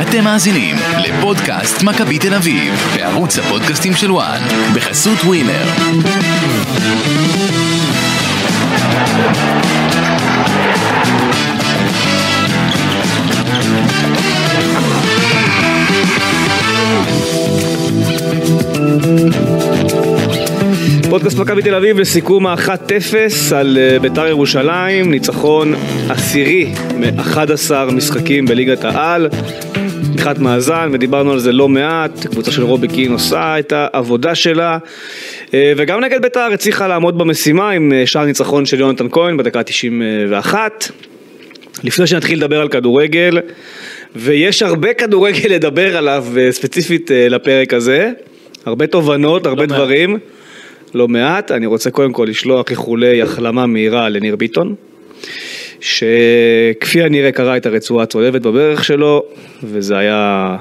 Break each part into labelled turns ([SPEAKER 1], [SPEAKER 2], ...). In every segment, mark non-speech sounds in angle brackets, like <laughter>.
[SPEAKER 1] אתם מאזינים לפודקאסט מכבי תל אביב, בערוץ הפודקאסטים של וואן, בחסות ווינר.
[SPEAKER 2] פודקאסט מכבי תל אביב לסיכום ה-1-0 על אה, ביתר ירושלים, ניצחון עשירי מ-11 משחקים בליגת העל, מבחינת מאזן, ודיברנו על זה לא מעט, קבוצה של רובי קין עושה את העבודה שלה, אה, וגם נגד ביתר הצליחה לעמוד במשימה עם אה, שער ניצחון של יונתן כהן בדקה 91. לפני שנתחיל לדבר על כדורגל, ויש הרבה כדורגל לדבר עליו, אה, ספציפית אה, לפרק הזה, הרבה תובנות, הרבה דברים. לא מעט. אני רוצה קודם כל לשלוח איחולי החלמה מהירה לניר ביטון, שכפי הנראה קרע את הרצועה הצולבת בברך שלו, וזה היה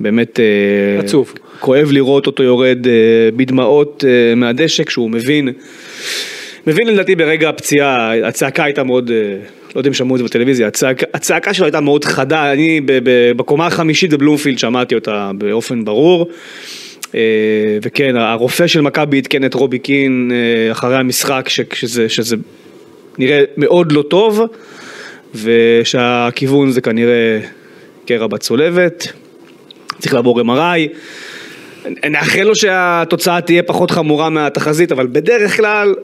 [SPEAKER 2] באמת... אה,
[SPEAKER 3] עצוב.
[SPEAKER 2] כואב לראות אותו יורד אה, בדמעות אה, מהדשא כשהוא מבין. מבין לדעתי ברגע הפציעה, הצעקה הייתה מאוד, אה, לא יודע אם שמעו את זה בטלוויזיה, הצעק, הצעקה שלו הייתה מאוד חדה, אני ב, ב, בקומה החמישית בבלומפילד שמעתי אותה באופן ברור. אה, וכן, הרופא של מכבי עדכן את רובי קין אה, אחרי המשחק, ש, שזה, שזה נראה מאוד לא טוב, ושהכיוון זה כנראה קרע בצולבת, צריך לעבור MRI. נאחל לו שהתוצאה תהיה פחות חמורה מהתחזית, אבל בדרך כלל,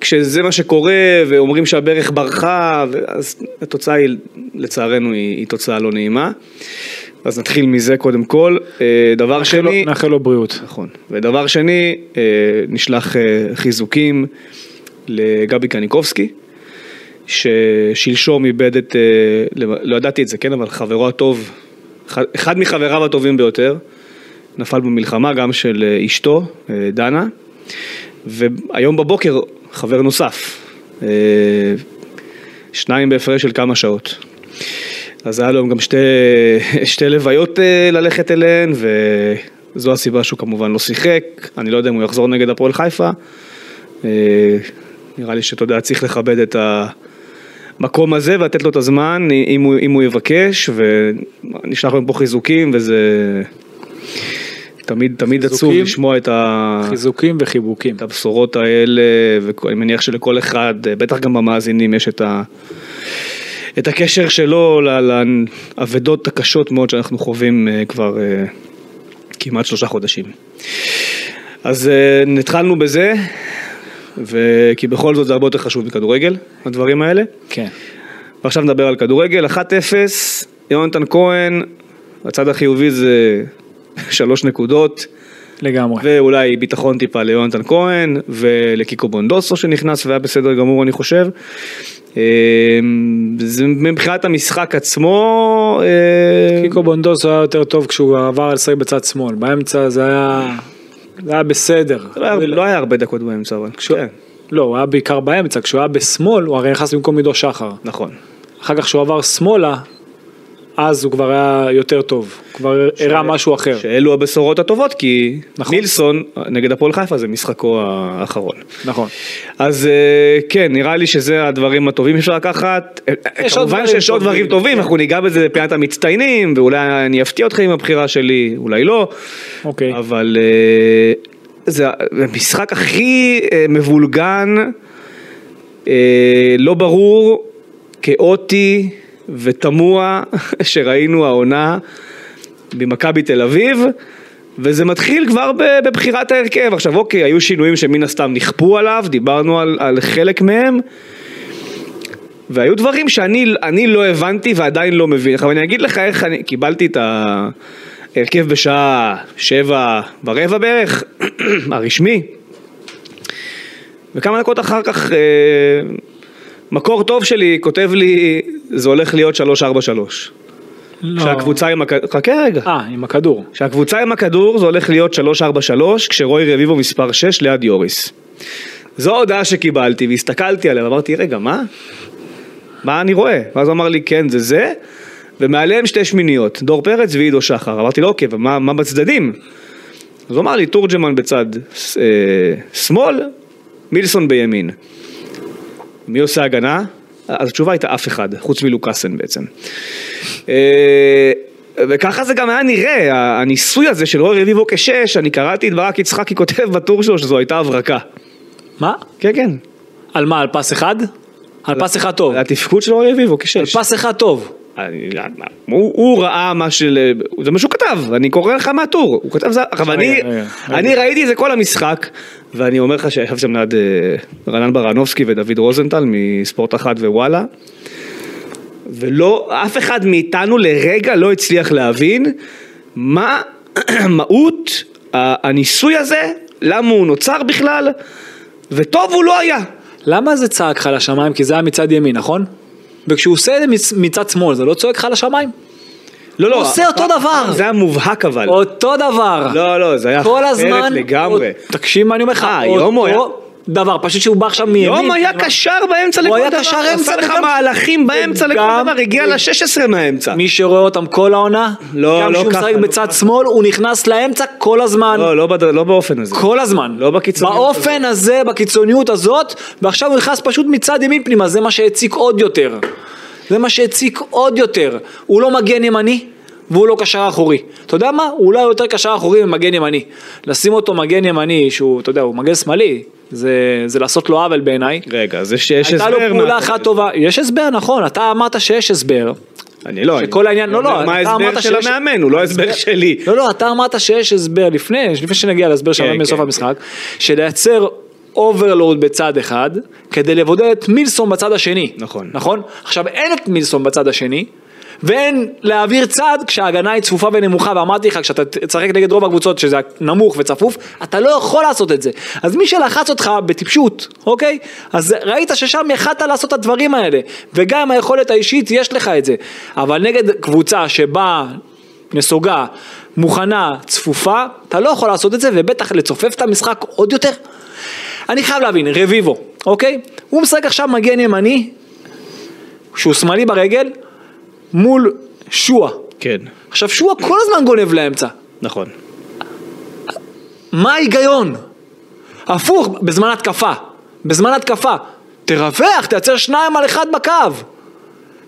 [SPEAKER 2] כשזה מה שקורה ואומרים שהברך ברחה, אז התוצאה היא, לצערנו, היא, היא תוצאה לא נעימה. אז נתחיל מזה קודם כל. אה, דבר
[SPEAKER 3] נאחל לו-
[SPEAKER 2] שני...
[SPEAKER 3] נאחל לו בריאות.
[SPEAKER 2] נכון. ודבר שני, אה, נשלח אה, חיזוקים לגבי קניקובסקי, ששלשום איבד את, אה, למ- לא ידעתי את זה, כן, אבל חברו הטוב, אחד- אחד מחבריו הטובים ביותר, נפל במלחמה גם של אה, אשתו, אה, דנה, והיום בבוקר חבר נוסף, אה, שניים בהפרש של כמה שעות. אז היה לו גם שתי, <laughs> שתי לוויות אה, ללכת אליהן, וזו הסיבה שהוא כמובן לא שיחק. אני לא יודע אם הוא יחזור נגד הפועל חיפה. אה, נראה לי שאתה יודע, צריך לכבד את המקום הזה ולתת לו את הזמן, אם הוא, אם הוא יבקש, ונשלח להם פה חיזוקים, וזה תמיד, תמיד עצוב
[SPEAKER 3] חיזוקים,
[SPEAKER 2] לשמוע את ה...
[SPEAKER 3] חיזוקים וחיבוקים.
[SPEAKER 2] את הבשורות האלה, ואני מניח שלכל אחד, בטח גם במאזינים, יש את, ה, את הקשר שלו ל- לאבדות הקשות מאוד שאנחנו חווים אה, כבר אה, כמעט שלושה חודשים. אז אה, התחלנו בזה, ו... כי בכל זאת זה הרבה יותר חשוב מכדורגל, הדברים האלה.
[SPEAKER 3] כן.
[SPEAKER 2] ועכשיו נדבר על כדורגל, 1-0, יונתן כהן, הצד החיובי זה שלוש נקודות.
[SPEAKER 3] לגמרי.
[SPEAKER 2] ואולי ביטחון טיפה ליונתן כהן ולקיקו בונדוסו שנכנס והיה בסדר גמור אני חושב. אה, זה מבחינת המשחק עצמו, אה,
[SPEAKER 3] קיקו בונדוסו היה יותר טוב כשהוא עבר לשחק בצד שמאל. באמצע זה היה... זה היה בסדר.
[SPEAKER 2] לא היה- לא היה הרבה דקות באמצע אבל, כן,
[SPEAKER 3] לא, הוא היה בעיקר באמצע. כשהוא היה בשמאל, הוא הרי נכנס במקום עידו שחר.
[SPEAKER 2] נכון.
[SPEAKER 3] אחר כך כשהוא עבר שמאלה, אז הוא כבר היה יותר טוב. כבר הראה משהו אחר.
[SPEAKER 2] שאלו הבשורות הטובות כי
[SPEAKER 3] כן. נכון.
[SPEAKER 2] נילסון אה, נגד הפועל חיפה זה משחקו האחרון.
[SPEAKER 3] נכון.
[SPEAKER 2] אז אה, כן, נראה לי שזה הדברים הטובים שאפשר לקחת. אה,
[SPEAKER 3] יש עוד
[SPEAKER 2] כמובן
[SPEAKER 3] דברים
[SPEAKER 2] שיש עוד דברים
[SPEAKER 3] טובים,
[SPEAKER 2] טובים, אנחנו ניגע בזה בפעיית המצטיינים, ואולי אני אפתיע אתכם עם הבחירה שלי, אולי לא.
[SPEAKER 3] אוקיי.
[SPEAKER 2] אבל אה, זה המשחק הכי אה, מבולגן, אה, לא ברור, כאוטי ותמוה <laughs> שראינו העונה במכבי תל אביב. וזה מתחיל כבר ב- בבחירת ההרכב. עכשיו אוקיי, היו שינויים שמן הסתם נכפו עליו, דיברנו על, על חלק מהם, והיו דברים שאני אני לא הבנתי ועדיין לא מבין. עכשיו אני אגיד לך איך אני קיבלתי את ההרכב בשעה שבע ורבע בערך, <clears throat> הרשמי, וכמה דקות אחר כך אה, מקור טוב שלי כותב לי, זה הולך להיות 343.
[SPEAKER 3] לא.
[SPEAKER 2] שהקבוצה עם הכ... חכה רגע.
[SPEAKER 3] אה, עם הכדור.
[SPEAKER 2] שהקבוצה עם הכדור זה הולך להיות 3-4-3 כשרוי רביבו מספר 6 ליד יוריס. זו ההודעה שקיבלתי והסתכלתי עליה ואמרתי רגע מה? מה אני רואה? ואז הוא אמר לי כן זה זה ומעליהם שתי שמיניות דור פרץ ועידו שחר אמרתי לו אוקיי ומה מה בצדדים? אז הוא אמר לי תורג'מן בצד אה, שמאל מילסון בימין מי עושה הגנה? אז התשובה הייתה אף אחד, חוץ מלוקאסן בעצם. אה, וככה זה גם היה נראה, ה- הניסוי הזה של רוי רביבו כשש, אני קראתי את ברק יצחקי כותב בטור שלו שזו הייתה הברקה.
[SPEAKER 3] מה?
[SPEAKER 2] כן, כן.
[SPEAKER 3] על מה? על פס אחד? על פס אחד טוב.
[SPEAKER 2] על התפקוד של רוי רביבו כשש.
[SPEAKER 3] על פס אחד טוב.
[SPEAKER 2] אני, הוא, הוא ראה מה של... זה מה שהוא כתב, אני קורא לך מהטור. הוא כתב זה... עכשיו אני,
[SPEAKER 3] רגע,
[SPEAKER 2] אני ראיתי את זה כל המשחק, ואני אומר לך שישב שם ליד אה, רענן ברנובסקי ודוד רוזנטל מספורט אחת ווואלה. ולא, אף אחד מאיתנו לרגע לא הצליח להבין מה <clears throat> מהות ה- הניסוי הזה, למה הוא נוצר בכלל, וטוב הוא לא היה.
[SPEAKER 3] למה זה צעק לך לשמיים? כי זה היה מצד ימין, נכון? וכשהוא עושה את זה מצ- מצד שמאל, זה לא צועק לך לשמיים?
[SPEAKER 2] לא, לא.
[SPEAKER 3] הוא עושה אותו דבר.
[SPEAKER 2] זה היה מובהק אבל.
[SPEAKER 3] אותו דבר.
[SPEAKER 2] לא, לא, זה היה
[SPEAKER 3] אה. כל
[SPEAKER 2] אחרת
[SPEAKER 3] הזמן,
[SPEAKER 2] לגמרי.
[SPEAKER 3] עוד- תקשיב מה אני אומר לך,
[SPEAKER 2] אה, יום הוא
[SPEAKER 3] אותו דבר, פשוט שהוא בא עכשיו מימין,
[SPEAKER 2] יום היה קשר באמצע
[SPEAKER 3] הוא
[SPEAKER 2] לכל
[SPEAKER 3] היה
[SPEAKER 2] דבר,
[SPEAKER 3] קשר אמצע
[SPEAKER 2] עשה לך
[SPEAKER 3] וגם-
[SPEAKER 2] מהלכים באמצע לכל
[SPEAKER 3] וגם-
[SPEAKER 2] דבר, הגיע ל-16 מהאמצע.
[SPEAKER 3] מי שרואה אותם כל העונה,
[SPEAKER 2] לא,
[SPEAKER 3] גם
[SPEAKER 2] לא
[SPEAKER 3] כשהוא
[SPEAKER 2] ככה,
[SPEAKER 3] משחק
[SPEAKER 2] לא
[SPEAKER 3] בצד שמאל, הוא נכנס לאמצע כל הזמן,
[SPEAKER 2] לא, לא בד- לא באופן הזה.
[SPEAKER 3] כל הזמן,
[SPEAKER 2] לא בקיצוניות
[SPEAKER 3] באופן הזה, בקיצוניות הזאת, ועכשיו הוא נכנס פשוט מצד ימין פנימה, זה מה שהציק עוד יותר, זה מה שהציק עוד יותר, הוא לא מגן ימני. והוא לא קשר אחורי. אתה יודע מה? הוא אולי יותר קשר אחורי ממגן ימני. לשים אותו מגן ימני שהוא, אתה יודע, הוא מגן שמאלי, זה, זה לעשות לו עוול בעיניי.
[SPEAKER 2] רגע, זה שיש הסבר. נכון.
[SPEAKER 3] הייתה לו
[SPEAKER 2] מאחורי
[SPEAKER 3] פעולה
[SPEAKER 2] זה.
[SPEAKER 3] אחת טובה, יש הסבר נכון, אתה אמרת שיש הסבר,
[SPEAKER 2] אני לא,
[SPEAKER 3] שכל
[SPEAKER 2] אני-
[SPEAKER 3] העניין-
[SPEAKER 2] אני
[SPEAKER 3] לא, לא,
[SPEAKER 2] אומר מה
[SPEAKER 3] אתה
[SPEAKER 2] ההסבר
[SPEAKER 3] אמרת
[SPEAKER 2] של
[SPEAKER 3] שיש-
[SPEAKER 2] המאמן, הוא לא ההסבר שלי.
[SPEAKER 3] לא לא אתה אמרת שיש הסבר לפני, לפני שנגיע להסבר של
[SPEAKER 2] כן,
[SPEAKER 3] המאמן בסוף
[SPEAKER 2] כן,
[SPEAKER 3] המשחק, שלייצר אוברלוד בצד אחד, כדי לבודד את מילסון בצד השני,
[SPEAKER 2] נכון.
[SPEAKER 3] נכון? עכשיו אין את מילסון בצד השני, ואין להעביר צד כשההגנה היא צפופה ונמוכה, ואמרתי לך, כשאתה תשחק נגד רוב הקבוצות שזה נמוך וצפוף, אתה לא יכול לעשות את זה. אז מי שלחץ אותך בטיפשות, אוקיי? אז ראית ששם יכלת לעשות את הדברים האלה, וגם היכולת האישית, יש לך את זה. אבל נגד קבוצה שבה נסוגה, מוכנה, צפופה, אתה לא יכול לעשות את זה, ובטח לצופף את המשחק עוד יותר. אני חייב להבין, רביבו, אוקיי? הוא משחק עכשיו מגן ימני, שהוא שמאלי ברגל, מול שועה.
[SPEAKER 2] כן,
[SPEAKER 3] עכשיו שועה כל הזמן גונב לאמצע.
[SPEAKER 2] נכון.
[SPEAKER 3] מה ההיגיון? הפוך, בזמן התקפה. בזמן התקפה. תרווח, תייצר שניים על אחד בקו.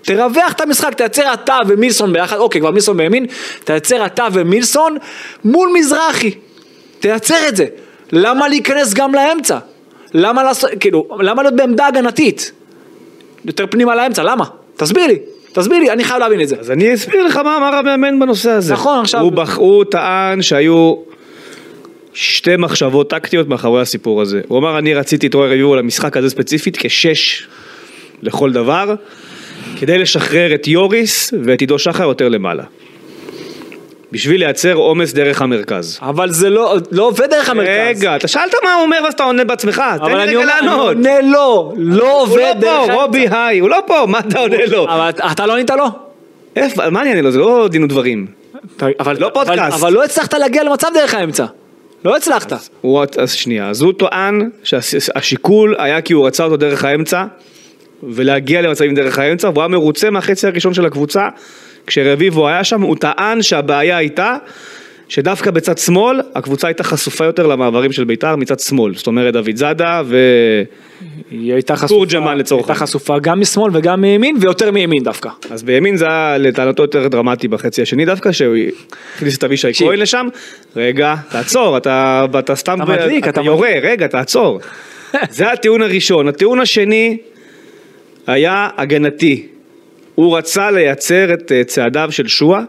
[SPEAKER 3] תרווח את המשחק, תייצר אתה ומילסון ביחד, אוקיי, כבר מילסון בימין, תייצר אתה ומילסון מול מזרחי. תייצר את זה. למה להיכנס גם לאמצע? למה לעשות, כאילו, למה להיות בעמדה הגנתית? יותר פנימה לאמצע, למה? תסביר לי, תסביר לי, אני חייב להבין את זה.
[SPEAKER 2] אז אני אסביר לך מה אמר המאמן בנושא הזה.
[SPEAKER 3] נכון, עכשיו-
[SPEAKER 2] הוא בח- הוא טען שהיו שתי מחשבות טקטיות מאחורי הסיפור הזה. הוא אמר, אני רציתי את רוי רביבו למשחק הזה ספציפית כשש לכל דבר, כדי לשחרר את יוריס ואת עידו שחר יותר למעלה. בשביל לייצר עומס דרך המרכז.
[SPEAKER 3] אבל זה לא, לא עובד דרך המרכז.
[SPEAKER 2] רגע, אתה שאלת מה הוא אומר ואז אתה עונה בעצמך, תן
[SPEAKER 3] אבל
[SPEAKER 2] לי
[SPEAKER 3] אני
[SPEAKER 2] רגע
[SPEAKER 3] אומר, אני
[SPEAKER 2] לענות.
[SPEAKER 3] עונה לא, לא
[SPEAKER 2] הוא
[SPEAKER 3] עובד
[SPEAKER 2] לא
[SPEAKER 3] דרך
[SPEAKER 2] פה,
[SPEAKER 3] האמצע.
[SPEAKER 2] רובי היי, הוא לא פה, מה אתה עונה לו?
[SPEAKER 3] אבל אתה לא ענית לו?
[SPEAKER 2] איפה, מה אני אענה לו? זה לא דין ודברים.
[SPEAKER 3] אבל
[SPEAKER 2] לא פודקאסט.
[SPEAKER 3] אבל לא הצלחת להגיע למצב דרך האמצע. לא הצלחת.
[SPEAKER 2] הוא, אז שנייה, אז הוא טוען שהשיקול היה כי הוא רצה אותו דרך האמצע ולהגיע למצבים דרך האמצע והוא היה מרוצה מהחצי הראשון של הקבוצה כשרביבו היה שם הוא טען שהבעיה הייתה שדווקא בצד שמאל הקבוצה הייתה חשופה יותר למעברים של בית"ר מצד שמאל זאת אומרת דוד זאדה ו...
[SPEAKER 3] היא הייתה חשופה.
[SPEAKER 2] תורג'מן לצורך
[SPEAKER 3] הייתה
[SPEAKER 2] העניין.
[SPEAKER 3] חשופה גם משמאל וגם מימין, ויותר מימין דווקא. <laughs>
[SPEAKER 2] אז בימין זה היה לטענתו יותר דרמטי בחצי השני דווקא שהוא הכניס את אבישי
[SPEAKER 3] תקשיב.
[SPEAKER 2] כהן לשם רגע תעצור אתה, אתה סתם
[SPEAKER 3] אתה מדליק, אתה
[SPEAKER 2] יורה רגע תעצור זה הטיעון הראשון הטיעון השני היה הגנתי הוא רצה לייצר את אה, צעדיו של שועה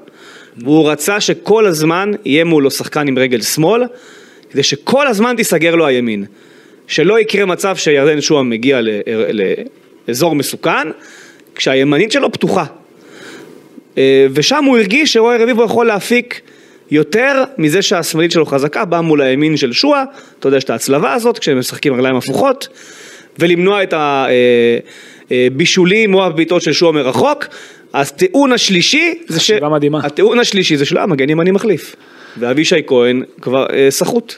[SPEAKER 2] והוא רצה שכל הזמן יהיה מולו שחקן עם רגל שמאל כדי שכל הזמן תיסגר לו הימין שלא יקרה מצב שירדן שועה מגיע ל- לאזור מסוכן כשהימנית שלו פתוחה אה, ושם הוא הרגיש שרוי רביבו יכול להפיק יותר מזה שהשמאלית שלו חזקה, באה מול הימין של שועה, אתה יודע, יש את ההצלבה הזאת, כשהם משחקים רגליים הפוכות, ולמנוע את הבישולים או הבעיטות של שועה מרחוק. אז טיעון השלישי זה ש...
[SPEAKER 3] חשיבה מדהימה.
[SPEAKER 2] הטיעון השלישי זה שלא, המגן ימני מחליף. ואבישי כהן כבר אה, סחוט.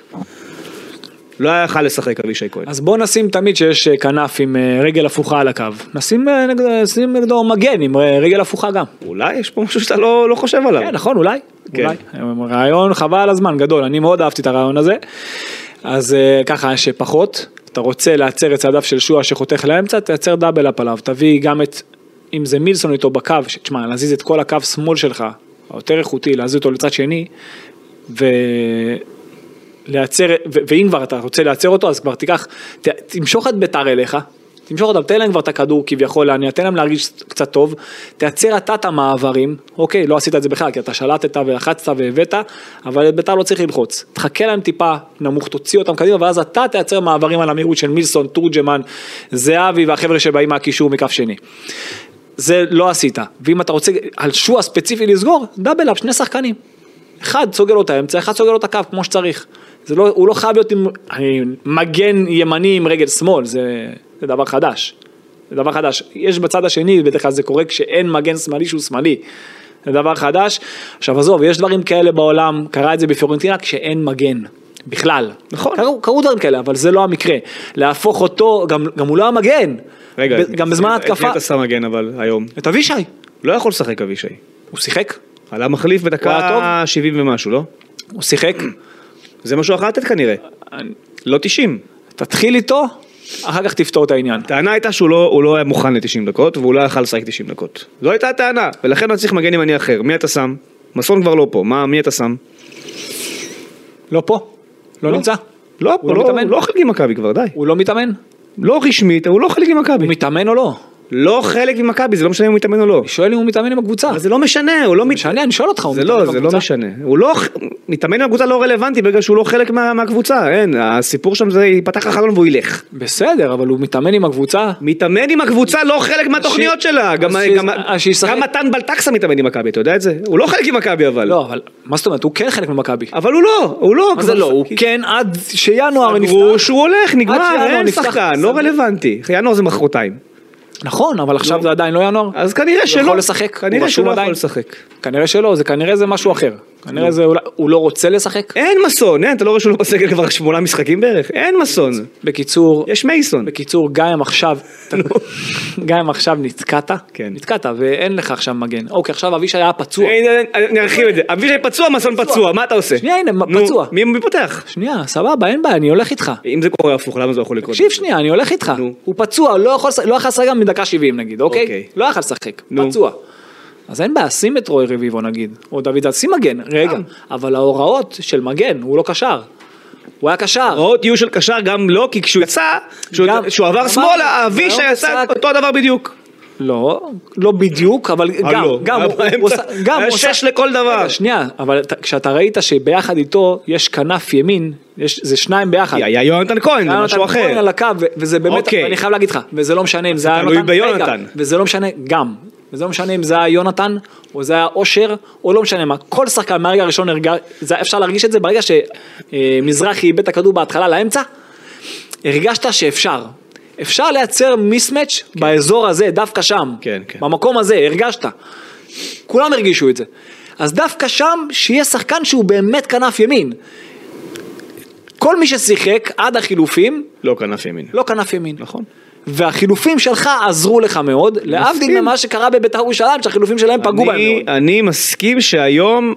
[SPEAKER 2] לא היה יכול לשחק אבישי כהן.
[SPEAKER 3] אז בוא נשים תמיד שיש אה, כנף עם אה, רגל הפוכה על הקו. נשים אה, נגד- נשים נגדו מגן עם אה, רגל הפוכה גם.
[SPEAKER 2] אולי יש פה משהו שאתה לא, לא חושב עליו.
[SPEAKER 3] כן, נכון, אולי.
[SPEAKER 2] כן.
[SPEAKER 3] אולי. רעיון חבל על הזמן, גדול. אני מאוד אהבתי את הרעיון הזה. אז אה, ככה שפחות. אתה רוצה להצר את צעדיו של שועה שחותך לאמצע, תייצר דאבל אפ עליו, תביא גם את, אם זה מילסון איתו בקו, ש- תשמע, להזיז את כל הקו שמאל שלך, היותר איכותי, להזיז אותו לצד שני, ו... לייצר, ו- ואם כבר אתה רוצה לייצר אותו, אז כבר תיקח, ת, תמשוך את ביתר אליך, תמשוך אותם, תן להם כבר את הכדור כביכול להניע, תן להם להרגיש קצת טוב, תייצר אתה את המעברים, אוקיי, לא עשית את זה בכלל, כי אתה שלטת ולחצת והבאת, אבל את ביתר לא צריך ללחוץ, תחכה להם טיפה נמוך, תוציא אותם קדימה, ואז אתה תייצר מעברים על המהירות של מילסון, תורג'מן, זהבי והחבר'ה שבאים מהקישור מכף שני. זה לא עשית, ואם אתה רוצה על שועה ספציפי לסגור, דאבל אפ, שני שחקנים. אחד סוגר לו את האמצע, אחד סוגר לו את הקו כמו שצריך. זה לא, הוא לא חייב להיות עם אני, מגן ימני עם רגל שמאל, זה, זה דבר חדש. זה דבר חדש. יש בצד השני, בדרך כלל זה קורה כשאין מגן שמאלי שהוא שמאלי. זה דבר חדש. עכשיו עזוב, יש דברים כאלה בעולם, קרה את זה בפיורנטינה כשאין מגן. בכלל.
[SPEAKER 2] נכון.
[SPEAKER 3] קרו, קרו דברים כאלה, אבל זה לא המקרה. להפוך אותו, גם, גם הוא לא המגן.
[SPEAKER 2] רגע,
[SPEAKER 3] ב- גם בזמן
[SPEAKER 2] את מי
[SPEAKER 3] ההתקפה.
[SPEAKER 2] אתה שם מגן אבל היום?
[SPEAKER 3] את אבישי.
[SPEAKER 2] לא יכול לשחק אבישי.
[SPEAKER 3] הוא שיחק,
[SPEAKER 2] עלה מחליף
[SPEAKER 3] הוא היה
[SPEAKER 2] בדקה 70 ומשהו, לא?
[SPEAKER 3] הוא שיחק.
[SPEAKER 2] זה מה שהוא יכול לתת כנראה. לא 90.
[SPEAKER 3] תתחיל איתו, אחר כך תפתור את העניין.
[SPEAKER 2] הטענה הייתה שהוא לא, הוא לא היה מוכן ל-90 דקות, והוא לא יכל לשחק 90 דקות. זו הייתה הטענה, ולכן הוא צריך מגן ימני אחר. מי אתה שם? מסון כבר לא פה, מה, מי אתה שם?
[SPEAKER 3] לא פה, לא נמצא.
[SPEAKER 2] לא,
[SPEAKER 3] הוא
[SPEAKER 2] הוא
[SPEAKER 3] לא
[SPEAKER 2] לא,
[SPEAKER 3] מתאמן?
[SPEAKER 2] לא, לא חלק ממכבי כבר, די.
[SPEAKER 3] הוא לא מתאמן?
[SPEAKER 2] לא רשמית, הוא לא חלק ממכבי.
[SPEAKER 3] הוא מתאמן או לא?
[SPEAKER 2] לא חלק ממכבי, זה לא משנה אם הוא מתאמן או לא.
[SPEAKER 3] אני שואל אם הוא מתאמן עם הקבוצה.
[SPEAKER 2] אבל זה לא משנה, הוא לא מתאמן.
[SPEAKER 3] משנה, אני שואל אותך, הוא
[SPEAKER 2] זה
[SPEAKER 3] מתאמן
[SPEAKER 2] לא,
[SPEAKER 3] עם
[SPEAKER 2] זה לא
[SPEAKER 3] הקבוצה?
[SPEAKER 2] משנה. הוא לא, מתאמן עם הקבוצה לא רלוונטי בגלל שהוא לא חלק מה, מהקבוצה, אין, הסיפור שם זה ייפתח החלון והוא ילך.
[SPEAKER 3] בסדר, אבל הוא מתאמן עם הקבוצה?
[SPEAKER 2] מתאמן עם הקבוצה לא חלק מהתוכניות
[SPEAKER 3] ש-
[SPEAKER 2] שלה, גם,
[SPEAKER 3] אז ש-
[SPEAKER 2] גם,
[SPEAKER 3] אז שישחק.
[SPEAKER 2] גם מתן בלטקסה מתאמן עם מכבי, אתה יודע את זה? הוא לא חלק עם מכבי אבל.
[SPEAKER 3] לא, אבל מה זאת אומרת, הוא כן חלק ממכבי.
[SPEAKER 2] אבל הוא לא, הוא לא.
[SPEAKER 3] מה זה לא, הוא כן עד שינואר
[SPEAKER 2] אמרו
[SPEAKER 3] נפתח.
[SPEAKER 2] שהוא הולך,
[SPEAKER 3] עד
[SPEAKER 2] נגמר,
[SPEAKER 3] שינואר
[SPEAKER 2] אין
[SPEAKER 3] נפתח,
[SPEAKER 2] שחקן,
[SPEAKER 3] סגור.
[SPEAKER 2] לא רלוונטי. ינואר זה מחרתיים.
[SPEAKER 3] נכון, אבל עכשיו זה עדיין לא ינואר.
[SPEAKER 2] אז כנראה שלא.
[SPEAKER 3] יכול לשחק? הוא
[SPEAKER 2] כנראה
[SPEAKER 3] רשום
[SPEAKER 2] שהוא לא
[SPEAKER 3] עדיין?
[SPEAKER 2] יכול לשחק.
[SPEAKER 3] כנראה שלא, זה כנראה זה משהו אחר. כנראה זה אולי, הוא לא רוצה לשחק?
[SPEAKER 2] אין מסון, אין, אתה לא רואה שהוא לא בסגל כבר שמונה משחקים בערך? אין מסון.
[SPEAKER 3] בקיצור,
[SPEAKER 2] יש מייסון.
[SPEAKER 3] בקיצור, גם אם עכשיו, גם אם עכשיו נתקעת,
[SPEAKER 2] כן.
[SPEAKER 3] נתקעת ואין לך עכשיו מגן. אוקיי, עכשיו אבישי היה פצוע.
[SPEAKER 2] אין, אין, נרחיב את זה. אבישי פצוע, מסון פצוע, מה אתה עושה?
[SPEAKER 3] שנייה, הנה,
[SPEAKER 2] נו,
[SPEAKER 3] פצוע.
[SPEAKER 2] מי מי פותח?
[SPEAKER 3] שנייה, סבבה, אין בעיה, אני הולך איתך.
[SPEAKER 2] אם זה קורה הפוך, למה זה יכול לקרות?
[SPEAKER 3] תקשיב שנייה, אני הולך איתך.
[SPEAKER 2] נו.
[SPEAKER 3] הוא פצוע, לא יכול לשחק- לא יכול לשחק גם מדקה 70 נגיד, אוקיי?
[SPEAKER 2] אוקיי.
[SPEAKER 3] לא יכול לשחק,
[SPEAKER 2] נו.
[SPEAKER 3] פצוע. אז אין בעיה, שים את רוי רביבו נגיד, או דוד, אז שים מגן, רגע.
[SPEAKER 2] גם.
[SPEAKER 3] אבל ההוראות של מגן, הוא לא קשר. הוא היה קשר.
[SPEAKER 2] הוראות יהיו של קשר גם לא, כי כשהוא יצא, כשהוא-
[SPEAKER 3] גם-
[SPEAKER 2] כשהוא
[SPEAKER 3] אמרנו,
[SPEAKER 2] עבר שמאלה,
[SPEAKER 3] זה
[SPEAKER 2] אבישי
[SPEAKER 3] לא
[SPEAKER 2] עשה
[SPEAKER 3] משחק.
[SPEAKER 2] אותו הדבר בדיוק.
[SPEAKER 3] לא, לא בדיוק, אבל גם,
[SPEAKER 2] הלו,
[SPEAKER 3] גם,
[SPEAKER 2] היה
[SPEAKER 3] הוא- הוא
[SPEAKER 2] אה, לא. באמצע,
[SPEAKER 3] עשה- גם,
[SPEAKER 2] היה
[SPEAKER 3] הוא עשה-
[SPEAKER 2] שש לכל דבר.
[SPEAKER 3] רגע, שנייה, אבל אתה- כשאתה ראית שביחד איתו יש כנף ימין, יש- זה שניים ביחד.
[SPEAKER 2] היה יונתן כהן, זה
[SPEAKER 3] היה
[SPEAKER 2] משהו
[SPEAKER 3] יונתן כהן
[SPEAKER 2] אחר.
[SPEAKER 3] על הקו, ו- וזה באמת,
[SPEAKER 2] אוקיי.
[SPEAKER 3] אני חייב להגיד לך, וזה לא משנה אם זה היה
[SPEAKER 2] תלוי
[SPEAKER 3] יונתן,
[SPEAKER 2] ביונתן.
[SPEAKER 3] רגע, וזה לא משנה, גם, וזה לא משנה אם זה היה יונתן, או זה היה אושר, או לא משנה מה, כל שחקן מהרגע הראשון, הרגע, זה, אפשר להרגיש את זה ברגע שמזרחי איבד את הכדור בהתחלה לאמצע, הרגשת שאפשר. אפשר לייצר מיסמץ' כן. באזור הזה, דווקא שם.
[SPEAKER 2] כן, כן.
[SPEAKER 3] במקום הזה, הרגשת. כולם הרגישו את זה. אז דווקא שם, שיהיה שחקן שהוא באמת כנף ימין. כל מי ששיחק עד החילופים,
[SPEAKER 2] לא כנף ימין.
[SPEAKER 3] לא כנף ימין.
[SPEAKER 2] נכון.
[SPEAKER 3] והחילופים שלך עזרו לך מאוד, להבדיל ממה שקרה בבית"ר ירושלים, שהחילופים שלהם פגעו בהם
[SPEAKER 2] אני-
[SPEAKER 3] מאוד.
[SPEAKER 2] אני מסכים שהיום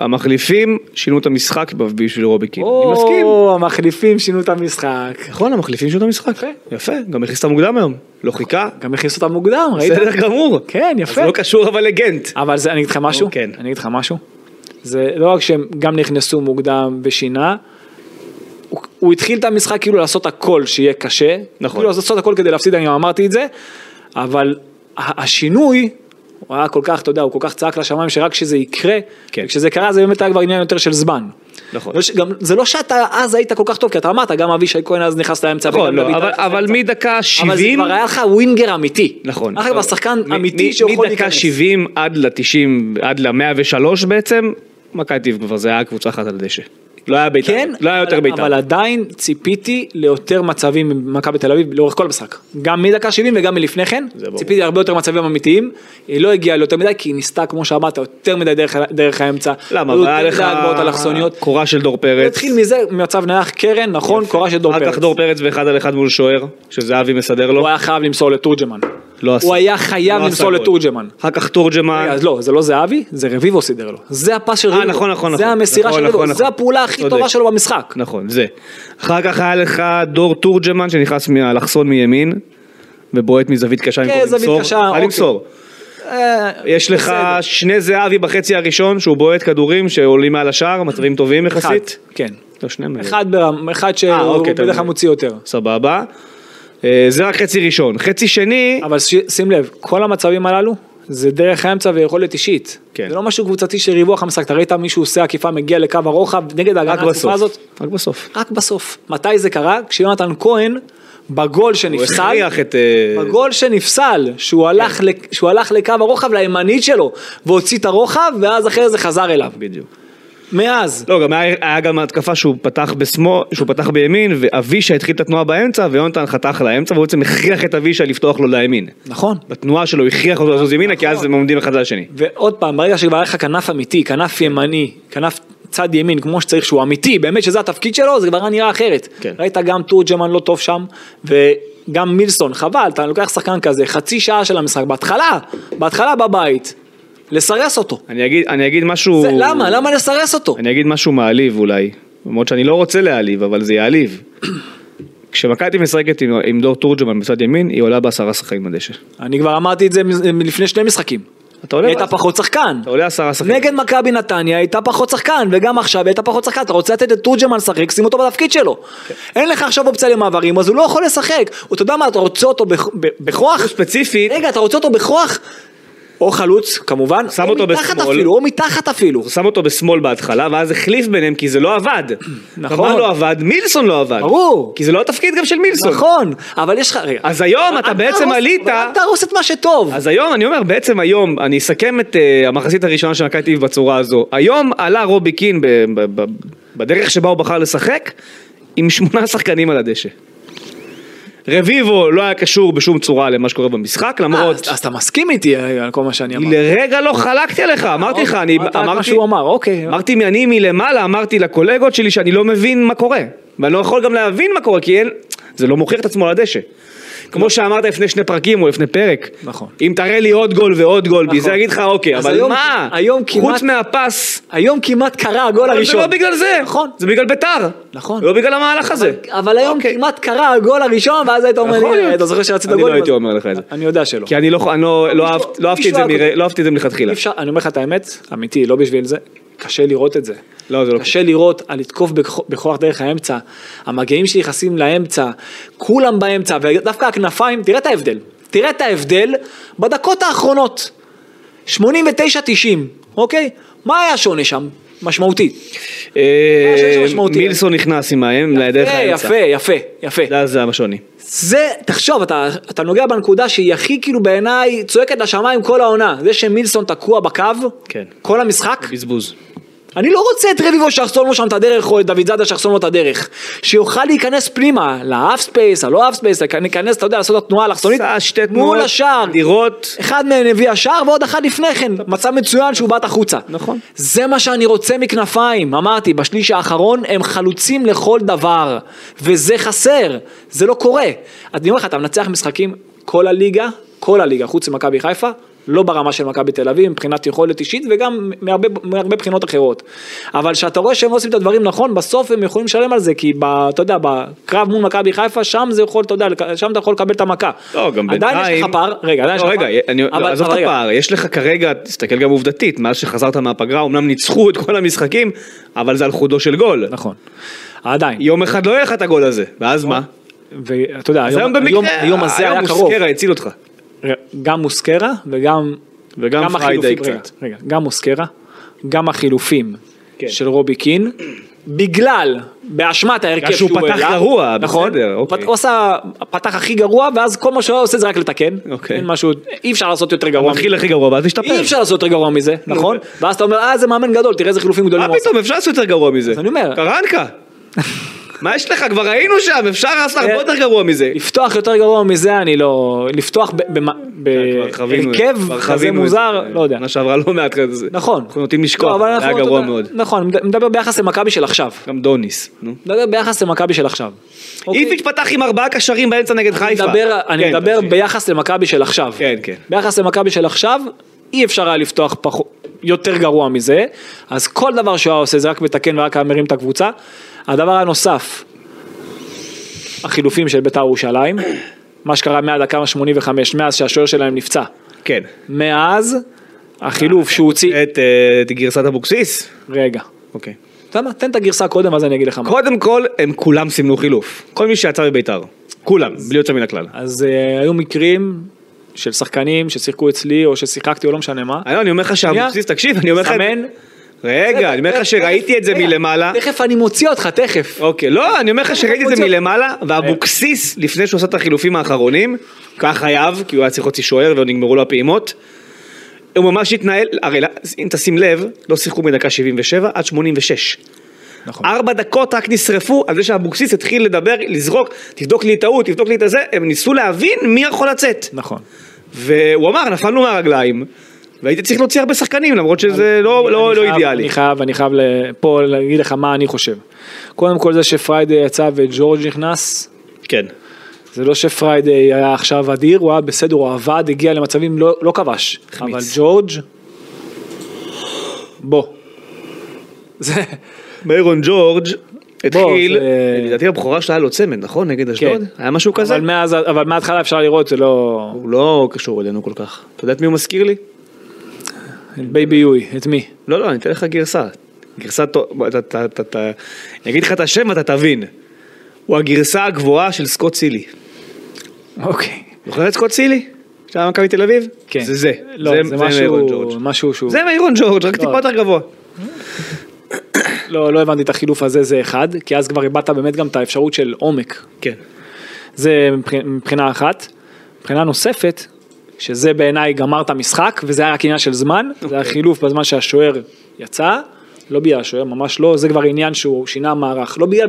[SPEAKER 2] המחליפים שינו את המשחק בשביל רוביקין. אני מסכים.
[SPEAKER 3] או, המחליפים שינו את המשחק.
[SPEAKER 2] נכון, המחליפים שינו את המשחק. יפה, גם הכניס אותם מוקדם היום. לא חיכה.
[SPEAKER 3] גם הכניסו אותם מוקדם, ראית?
[SPEAKER 2] בסדר גמור.
[SPEAKER 3] כן,
[SPEAKER 2] אז
[SPEAKER 3] יפה.
[SPEAKER 2] זה לא קשור אבל לגנט.
[SPEAKER 3] אבל זה, אני אגיד לך משהו?
[SPEAKER 2] כן.
[SPEAKER 3] אני אגיד לך משהו? זה לא רק שהם גם נכנסו מוקדם ושינה, הוא, הוא התחיל את המשחק כאילו לעשות הכל שיהיה קשה.
[SPEAKER 2] נכון.
[SPEAKER 3] כאילו לעשות הכל כדי להפסיד, אני גם אמרתי את זה, אבל ה- השינוי, הוא היה כל כך, אתה יודע, הוא כל כך צעק לשמיים שרק כשזה יקרה,
[SPEAKER 2] כן.
[SPEAKER 3] וכשזה קרה זה באמת היה כבר עניין יותר של זמן.
[SPEAKER 2] נכון.
[SPEAKER 3] לא ש- גם, זה לא שאתה אז היית כל כך טוב, כי אתה אמרת, גם אבישי כהן אז נכנס לאמצע.
[SPEAKER 2] נכון,
[SPEAKER 3] וגם
[SPEAKER 2] לא,
[SPEAKER 3] דוד
[SPEAKER 2] אבל-
[SPEAKER 3] נכנס
[SPEAKER 2] אבל
[SPEAKER 3] לאמצע.
[SPEAKER 2] מדקה
[SPEAKER 3] אבל זה
[SPEAKER 2] 70...
[SPEAKER 3] כבר היה לך ווינגר אמיתי.
[SPEAKER 2] נכון.
[SPEAKER 3] היה לך כבר
[SPEAKER 2] אבל
[SPEAKER 3] שחקן
[SPEAKER 2] מ-
[SPEAKER 3] אמיתי
[SPEAKER 2] מ-
[SPEAKER 3] שיכול
[SPEAKER 2] מדקה
[SPEAKER 3] להיכנס.
[SPEAKER 2] 70 עד ל-90, עד ל-103 בעצם, מכבי טיב כבר, זה היה קבוצה אחת על הדשא. לא היה בית"ר,
[SPEAKER 3] כן,
[SPEAKER 2] לא היה יותר
[SPEAKER 3] אבל-
[SPEAKER 2] בית"ר.
[SPEAKER 3] אבל עדיין ציפיתי ליותר מצבים ממכבי תל אביב לאורך כל המשחק. גם מדקה 70 וגם מלפני כן,
[SPEAKER 2] זה ברור.
[SPEAKER 3] ציפיתי הרבה יותר מצבים אמיתיים. היא לא הגיעה ליותר מדי, כי היא ניסתה, כמו שאמרת, יותר מדי דרך- דרך האמצע.
[SPEAKER 2] למה,
[SPEAKER 3] היו
[SPEAKER 2] אבל היה
[SPEAKER 3] יותר
[SPEAKER 2] לך
[SPEAKER 3] מדי הגבהות אלכסוניות.
[SPEAKER 2] קורה של דור
[SPEAKER 3] הוא
[SPEAKER 2] פרץ,
[SPEAKER 3] התחיל מזה, ממצב נייח קרן, נכון, קורה של דור
[SPEAKER 2] אחר
[SPEAKER 3] פרץ.
[SPEAKER 2] כך דור פרץ ואחד על אחד מול שוער, שזהבי מסדר לו.
[SPEAKER 3] הוא היה חייב למסור לתורג'מן.
[SPEAKER 2] לא עשה.
[SPEAKER 3] הוא היה חייב
[SPEAKER 2] לא עשה
[SPEAKER 3] למסור
[SPEAKER 2] גול.
[SPEAKER 3] לתורג'מן.
[SPEAKER 2] אחר כך תורג'מן.
[SPEAKER 3] רגע, אז לא, זה לא זהבי, זה רביבו סידר לו. זה הפס של רביבו.
[SPEAKER 2] נכון, נכון,
[SPEAKER 3] זה
[SPEAKER 2] נכון.
[SPEAKER 3] המסירה
[SPEAKER 2] נכון,
[SPEAKER 3] של
[SPEAKER 2] נכון,
[SPEAKER 3] רביבו,
[SPEAKER 2] נכון.
[SPEAKER 3] זה הפעולה הכי
[SPEAKER 2] צודק.
[SPEAKER 3] טובה שלו במשחק.
[SPEAKER 2] נכון, זה. אחר כך היה לך דור תורג'מן שנכנס מהאלכסון מימין, ובועט מזווית קשה
[SPEAKER 3] כן,
[SPEAKER 2] במקום
[SPEAKER 3] זווית
[SPEAKER 2] למסור.
[SPEAKER 3] קשה,
[SPEAKER 2] היה
[SPEAKER 3] אוקיי.
[SPEAKER 2] למסור.
[SPEAKER 3] אה,
[SPEAKER 2] יש לך
[SPEAKER 3] בסדר.
[SPEAKER 2] שני זהבי בחצי הראשון שהוא בועט כדורים שעולים מעל השער, מצבים טובים
[SPEAKER 3] אחד,
[SPEAKER 2] יחסית.
[SPEAKER 3] כן.
[SPEAKER 2] לא, שניהם האלה.
[SPEAKER 3] אחד ברמ- אחד
[SPEAKER 2] אה,
[SPEAKER 3] שהוא
[SPEAKER 2] אוקיי, אתה
[SPEAKER 3] בדרך כלל
[SPEAKER 2] מבין.
[SPEAKER 3] מוציא יותר.
[SPEAKER 2] סבבה. אה, זה רק חצי ראשון. חצי שני,
[SPEAKER 3] אבל ש- שים לב, כל המצבים הללו, זה דרך האמצע ויכולת אישית.
[SPEAKER 2] כן.
[SPEAKER 3] זה לא משהו קבוצתי של ריווח המשחק, אתה ראית מישהו עושה עקיפה, מגיע לקו הרוחב, נגד ההגנה
[SPEAKER 2] רק
[SPEAKER 3] הצפופה הזאת?
[SPEAKER 2] בסוף. רק בסוף.
[SPEAKER 3] רק בסוף. מתי זה קרה? כשיונתן כהן, בגול
[SPEAKER 2] הוא
[SPEAKER 3] שנפסל,
[SPEAKER 2] הכריח את... אה, כן.
[SPEAKER 3] הגול שנפסל, שהוא הלך, לק- שהוא הלך לקו הרוחב לימנית שלו, והוציא את הרוחב, ואז אחרי זה חזר אליו.
[SPEAKER 2] בדיוק.
[SPEAKER 3] מאז.
[SPEAKER 2] לא, גם היה, היה גם התקפה שהוא פתח בשמאל, שהוא פתח בימין, ואבישע התחיל את התנועה באמצע, ויונתן חתך לאמצע, והוא בעצם הכריח את אבישע לפתוח לו לימין.
[SPEAKER 3] נכון.
[SPEAKER 2] בתנועה שלו הוא הכריח אותו לזוז ימינה, כי אז הם עומדים אחד על השני.
[SPEAKER 3] ועוד פעם, ברגע שכבר היה לך כנף אמיתי, כנף ימני, כנף צד ימין, כמו שצריך, שהוא אמיתי, באמת שזה התפקיד שלו, זה כבר היה נראה אחרת.
[SPEAKER 2] כן.
[SPEAKER 3] ראית גם תורג'מן לא טוב שם, וגם מילסון, חבל, אתה לוקח שחקן כזה, חצי שעה של המשחק, בהתחלה, בהתחלה בבית, לסרס אותו.
[SPEAKER 2] אני אגיד, אני אגיד משהו...
[SPEAKER 3] זה, למה? למה לסרס אותו?
[SPEAKER 2] אני אגיד משהו מעליב אולי, למרות שאני לא רוצה להעליב, אבל זה יעליב. <clears throat> כשמכבי משחקת עם, עם דור תורג'מן בצד ימין, היא עולה בעשרה שחקנים בדשא.
[SPEAKER 3] אני כבר אמרתי את זה מ- מ- לפני שני משחקים.
[SPEAKER 2] אתה
[SPEAKER 3] היא
[SPEAKER 2] עולה...
[SPEAKER 3] הייתה פחות שחקן.
[SPEAKER 2] אתה עולה עשרה שחקנים.
[SPEAKER 3] נגד מכבי נתניה הייתה פחות שחקן, וגם עכשיו הייתה פחות שחקן, אתה רוצה לתת לתורג'מן לשחק, שים אותו בתפקיד שלו.
[SPEAKER 2] כן.
[SPEAKER 3] אין לך עכשיו אופציה למעברים, אז הוא לא יכול לשחק. אתה יודע מה, אתה רוצה אותו בכ- ב- בכוח?
[SPEAKER 2] ספציפית,
[SPEAKER 3] רגע, אתה רוצה אותו בכוח? או חלוץ, כמובן.
[SPEAKER 2] שם
[SPEAKER 3] או
[SPEAKER 2] אותו
[SPEAKER 3] מתחת
[SPEAKER 2] בשמאל.
[SPEAKER 3] אפילו, או מתחת אפילו.
[SPEAKER 2] הוא שם אותו בשמאל בהתחלה, ואז החליף ביניהם כי זה לא
[SPEAKER 3] <clears throat>
[SPEAKER 2] עבד.
[SPEAKER 3] נכון.
[SPEAKER 2] מה לא עבד? מילסון לא עבד.
[SPEAKER 3] ברור.
[SPEAKER 2] כי זה לא התפקיד גם של מילסון.
[SPEAKER 3] נכון, אבל יש לך... רגע.
[SPEAKER 2] אז היום אתה
[SPEAKER 3] אל
[SPEAKER 2] בעצם
[SPEAKER 3] תהרוס-
[SPEAKER 2] עלית-
[SPEAKER 3] אבל אל תהרוס את מה שטוב.
[SPEAKER 2] אז היום, אני אומר, בעצם היום, אני אסכם את uh, המחצית הראשונה של מכבי תל אביב בצורה הזו. היום עלה רובי קין ב- ב- ב- בדרך שבה הוא בחר לשחק, עם שמונה שחקנים על הדשא. רביבו לא היה קשור בשום צורה למה שקורה במשחק, למרות...
[SPEAKER 3] אה, אז- אז אתה מסכים איתי אה, על כל מה שאני אמרתי.
[SPEAKER 2] לרגע לא חלקתי עליך, אמרתי לך, אני
[SPEAKER 3] אמרת רק מה
[SPEAKER 2] אמרתי...
[SPEAKER 3] שהוא אמר, אוקיי.
[SPEAKER 2] אמרתי, אני מלמעלה, אמרתי לקולגות שלי שאני לא מבין מה קורה. ואני לא יכול גם להבין מה קורה, כי אין... זה לא מוכיח את עצמו על הדשא. כמו שאמרת לפני שני פרקים או לפני פרק.
[SPEAKER 3] נכון.
[SPEAKER 2] אם תראה לי עוד גול ועוד גול,
[SPEAKER 3] נכון.
[SPEAKER 2] בזה אגיד לך, אוקיי,
[SPEAKER 3] אז
[SPEAKER 2] אבל
[SPEAKER 3] היום-
[SPEAKER 2] מה?
[SPEAKER 3] היום כמעט-
[SPEAKER 2] חוץ מהפס,
[SPEAKER 3] היום כמעט קרה הגול
[SPEAKER 2] אבל
[SPEAKER 3] הראשון.
[SPEAKER 2] זה לא בגלל זה.
[SPEAKER 3] נכון.
[SPEAKER 2] זה בגלל ביתר.
[SPEAKER 3] נכון.
[SPEAKER 2] לא בגלל המהלך הזה.
[SPEAKER 3] אבל היום
[SPEAKER 2] אוקיי.
[SPEAKER 3] כמעט קרה הגול הראשון, ואז היית אומר,
[SPEAKER 2] יכול
[SPEAKER 3] "הנה,
[SPEAKER 2] להיות.
[SPEAKER 3] אתה זוכר שרצית
[SPEAKER 2] אני
[SPEAKER 3] גול?
[SPEAKER 2] לא הייתי אומר לך את זה.
[SPEAKER 3] אני יודע שלא.
[SPEAKER 2] כי אני לא, אני לא, לא, אהבת- לא אהבתי את זה
[SPEAKER 3] מישהו היה
[SPEAKER 2] מר- לא אהבתי את זה מלכתחילה.
[SPEAKER 3] אי אפשר- אני אומר לך את האמת, אמיתי, לא בשביל זה, קשה לראות את זה.
[SPEAKER 2] לא, זה לא
[SPEAKER 3] קשה לראות על לתקוף בכ- בכוח דרך האמצע, המגעים שנכנסים לאמצע, כולם באמצע, ודווקא הכנפיים, תראה את ההבדל, תראה את ההבדל בדקות האחרונות, 89-90, אוקיי? מה היה שונה שם? משמעותי.
[SPEAKER 2] אה,
[SPEAKER 3] שיש לו משמעותי.
[SPEAKER 2] מילסון נכנס עם האם לדרך
[SPEAKER 3] אה,
[SPEAKER 2] האמצע. לא,
[SPEAKER 3] יפה, יפה, יפה.
[SPEAKER 2] זה- זה השוני.
[SPEAKER 3] זה, תחשוב, אתה, אתה נוגע בנקודה שהיא הכי כאילו בעיניי צועקת לשמיים כל העונה. זה שמילסון תקוע בקו,
[SPEAKER 2] כן.
[SPEAKER 3] כל המשחק,
[SPEAKER 2] בזבוז.
[SPEAKER 3] אני לא רוצה את רביבו שיחסום לו שם את הדרך, או את דוד זאדה שיחסום לו את הדרך. שיוכל להיכנס פנימה, להאף ספייס, הלא האף ספייס, להיכנס, אתה יודע, לעשות את התנועה אלכסונית,
[SPEAKER 2] עשה שתי תנועות,
[SPEAKER 3] מול השער.
[SPEAKER 2] דירות.
[SPEAKER 3] אחד מהם הביא השער ועוד אחד לפני כן, מצב מצוין שהוא בעט החוצה.
[SPEAKER 2] נכון.
[SPEAKER 3] זה מה שאני רוצה מכנפיים, אמרתי, בשליש האחרון הם חלוצים לכל דבר, וזה חסר, זה לא קורה. אז אני אומר לך, אתה מנצח משחקים, כל הליגה, כל הליגה, חוץ ממכבי חיפה, לא ברמה של מכבי תל אביב, מבחינת יכולת אישית וגם מהרבה, מהרבה בחינות אחרות. אבל כשאתה רואה שהם לא עושים את הדברים נכון, בסוף הם יכולים לשלם על זה, כי ב, אתה יודע, בקרב מול מכבי חיפה, שם זה יכול, אתה יודע, שם אתה יכול לקבל את המכה.
[SPEAKER 2] לא, גם בינתיים...
[SPEAKER 3] עדיין יש לך פער, רגע, עדיין יש
[SPEAKER 2] לא,
[SPEAKER 3] לך
[SPEAKER 2] רגע,
[SPEAKER 3] פער.
[SPEAKER 2] אני...
[SPEAKER 3] אבל-
[SPEAKER 2] לא, עזוב את
[SPEAKER 3] אבל רגע,
[SPEAKER 2] הפער, יש לך כרגע, תסתכל גם עובדתית, מאז שחזרת מהפגרה, אמנם ניצחו את כל המשחקים, אבל זה על חודו של גול.
[SPEAKER 3] נכון, עדיין.
[SPEAKER 2] יום אחד לא יהיה לך את הגול הזה, ואז מה?
[SPEAKER 3] ואתה יודע,
[SPEAKER 2] אז היום
[SPEAKER 3] היום, היום,
[SPEAKER 2] במקרה,
[SPEAKER 3] היום הזה היה
[SPEAKER 2] היום
[SPEAKER 3] קרוב.
[SPEAKER 2] מוסקרה הציל אותך.
[SPEAKER 3] גם מוסקרה וגם...
[SPEAKER 2] וגם
[SPEAKER 3] גם
[SPEAKER 2] פריידי
[SPEAKER 3] החילופים,
[SPEAKER 2] קצת.
[SPEAKER 3] רגע, רגע, גם מוסקרה, גם החילופים
[SPEAKER 2] כן.
[SPEAKER 3] של רובי קין, בגלל, באשמת ההרכב
[SPEAKER 2] בגלל שהוא פתח
[SPEAKER 3] העלה,
[SPEAKER 2] גרוע,
[SPEAKER 3] נכון,
[SPEAKER 2] בסדר, אוקיי.
[SPEAKER 3] פת- הוא עשה, פתח הכי גרוע, ואז כל מה שהוא היה עושה זה רק לתקן.
[SPEAKER 2] אוקיי.
[SPEAKER 3] אין משהו, אי אפשר לעשות יותר
[SPEAKER 2] הוא
[SPEAKER 3] גרוע.
[SPEAKER 2] מתחיל הכי גרוע, ואז משתפר.
[SPEAKER 3] אי אפשר לעשות יותר גרוע מזה, נכון? ואז אתה אומר, אה, זה מאמן גדול, תראה איזה חילופים גדולים
[SPEAKER 2] אוקיי. מה
[SPEAKER 3] הוא עשה. <laughs>
[SPEAKER 2] פתאום, אפשר לעשות יותר גרוע מזה.
[SPEAKER 3] אז אני אומר-
[SPEAKER 2] קרנקה. מה יש לך? כבר היינו שם, אפשר לעשות הרבה
[SPEAKER 3] אה,
[SPEAKER 2] יותר גרוע מזה.
[SPEAKER 3] לפתוח יותר גרוע מזה אני לא... לפתוח ב- במ-
[SPEAKER 2] כן, כבר חווינו את זה,
[SPEAKER 3] בהרכב
[SPEAKER 2] כבר
[SPEAKER 3] כזה
[SPEAKER 2] חווינו את זה.
[SPEAKER 3] אה, מוזר, לא יודע.
[SPEAKER 2] שנה שעברה לא מעט כזה.
[SPEAKER 3] נכון.
[SPEAKER 2] אנחנו נוטים
[SPEAKER 3] לא,
[SPEAKER 2] לשכוח,
[SPEAKER 3] אבל
[SPEAKER 2] זה היה
[SPEAKER 3] אנחנו-
[SPEAKER 2] גרוע
[SPEAKER 3] אתה יודע-
[SPEAKER 2] מאוד.
[SPEAKER 3] נכון, אני מדבר ביחס למכבי של עכשיו.
[SPEAKER 2] גם דוניס. נו.
[SPEAKER 3] מדבר ביחס למכבי של עכשיו. אוקיי?
[SPEAKER 2] איביץ' פתח עם ארבעה קשרים באמצע נגד חיפה.
[SPEAKER 3] מדבר- אני
[SPEAKER 2] כן,
[SPEAKER 3] מדבר
[SPEAKER 2] תמשיך.
[SPEAKER 3] ביחס למכבי של עכשיו.
[SPEAKER 2] כן, כן.
[SPEAKER 3] ביחס למכבי של עכשיו, אי אפשר היה לפתוח פחו- יותר גרוע מזה, אז כל דבר שהוא היה עושה זה רק מתקן ורק היה מרים את הקבוצה. הדבר הנוסף, החילופים של בית"ר ירושלים, <clears throat> מה שקרה מהדקה ה-85, מאז שהשוער שלהם נפצע.
[SPEAKER 2] כן.
[SPEAKER 3] מאז, החילוף שהוא הוציא...
[SPEAKER 2] את אה, את גרסת אבוקסיס.
[SPEAKER 3] רגע.
[SPEAKER 2] אוקיי.
[SPEAKER 3] אתה יודע מה? תן את הגרסה קודם, אז אני אגיד לך מה.
[SPEAKER 2] קודם כל, הם כולם סימנו חילוף. כל מי שיצא מביתר. כולם, בלי יוצא מן הכלל.
[SPEAKER 3] אז אה, היו מקרים של שחקנים ששיחקו אצלי, או ששיחקתי, או לא משנה מה.
[SPEAKER 2] היום אני אומר לך שאבוקסיס, תקשיב, אני אומר לך... את-
[SPEAKER 3] סמן. אה,
[SPEAKER 2] רגע, אני אומר לך שראיתי את זה
[SPEAKER 3] רגע,
[SPEAKER 2] מלמעלה.
[SPEAKER 3] תכף אני מוציא אותך, תכף.
[SPEAKER 2] אוקיי, לא, אני אומר לך שראיתי את זה
[SPEAKER 3] מוציא-
[SPEAKER 2] מלמעלה, ואבוקסיס,
[SPEAKER 3] אה.
[SPEAKER 2] לפני שהוא עשה את החילופים האחרונים, כך חייב, כי הוא היה צריך להוציא שוער ונגמרו לו הפעימות, הוא ממש התנהל, הרי לא- אם תשים לב, לא שיחקו מדקה 77 עד 86.
[SPEAKER 3] נכון.
[SPEAKER 2] ארבע דקות רק נשרפו על זה שאבוקסיס התחיל לדבר, לזרוק, תבדוק לי את ההוא, תבדוק לי את הזה, הם ניסו להבין מי יכול לצאת.
[SPEAKER 3] נכון.
[SPEAKER 2] והוא אמר, נפלנו מהרגליים, והייתי צריך להוציא הרבה שחקנים, למרות שזה לא- לא
[SPEAKER 3] אני
[SPEAKER 2] לא
[SPEAKER 3] חייב-
[SPEAKER 2] אידיאלי.
[SPEAKER 3] אני חייב, אני חייב ל- פה להגיד לך מה אני חושב. קודם כל זה שפריידי יצא וג'ורג' נכנס,
[SPEAKER 2] כן.
[SPEAKER 3] זה לא שפריידי היה עכשיו אדיר, הוא היה בסדר, הוא עבד, הגיע למצבים, לא, לא כבש.
[SPEAKER 2] החמיץ.
[SPEAKER 3] אבל ג'ורג', בוא. זה,
[SPEAKER 2] מיירון ג'ורג' התחיל,
[SPEAKER 3] זה- כן.
[SPEAKER 2] לדעתי הבכורה שלה היה לו צמד, נכון? נגד אשדוד? היה משהו כזה?
[SPEAKER 3] אבל, מאז, אבל מההתחלה אפשר לראות, זה לא...
[SPEAKER 2] הוא לא קשור אלינו כל כך. אתה יודע את מי הוא מזכיר לי?
[SPEAKER 3] בייבי יואי, את מי?
[SPEAKER 2] לא, לא, אני אתן לך גרסה. גרסה טוב, בוא, אתה- אתה- אתה- אתה- אני אגיד לך את השם ואתה תבין. הוא הגרסה הגבוהה של סקוט סילי.
[SPEAKER 3] אוקיי.
[SPEAKER 2] זוכר את סקוט סילי? שהיה במכבי תל אביב?
[SPEAKER 3] כן.
[SPEAKER 2] זה זה.
[SPEAKER 3] לא, זה
[SPEAKER 2] מיירון
[SPEAKER 3] משהו,
[SPEAKER 2] ג'ורג'.
[SPEAKER 3] משהו שהוא...
[SPEAKER 2] זה מיירון ג'ורג', רק טיפה יותר גבוה.
[SPEAKER 3] לא, לא הבנתי את החילוף הזה, זה אחד, כי אז כבר איבדת באמת גם את האפשרות של עומק.
[SPEAKER 2] כן.
[SPEAKER 3] זה מבח- מבחינה אחת. מבחינה נוספת, שזה בעיניי גמר את המשחק, וזה היה רק עניין של זמן,
[SPEAKER 2] אוקיי.
[SPEAKER 3] זה היה חילוף בזמן שהשוער יצא, לא בגלל השוער, ממש לא, זה כבר עניין שהוא שינה מערך, לא בגלל,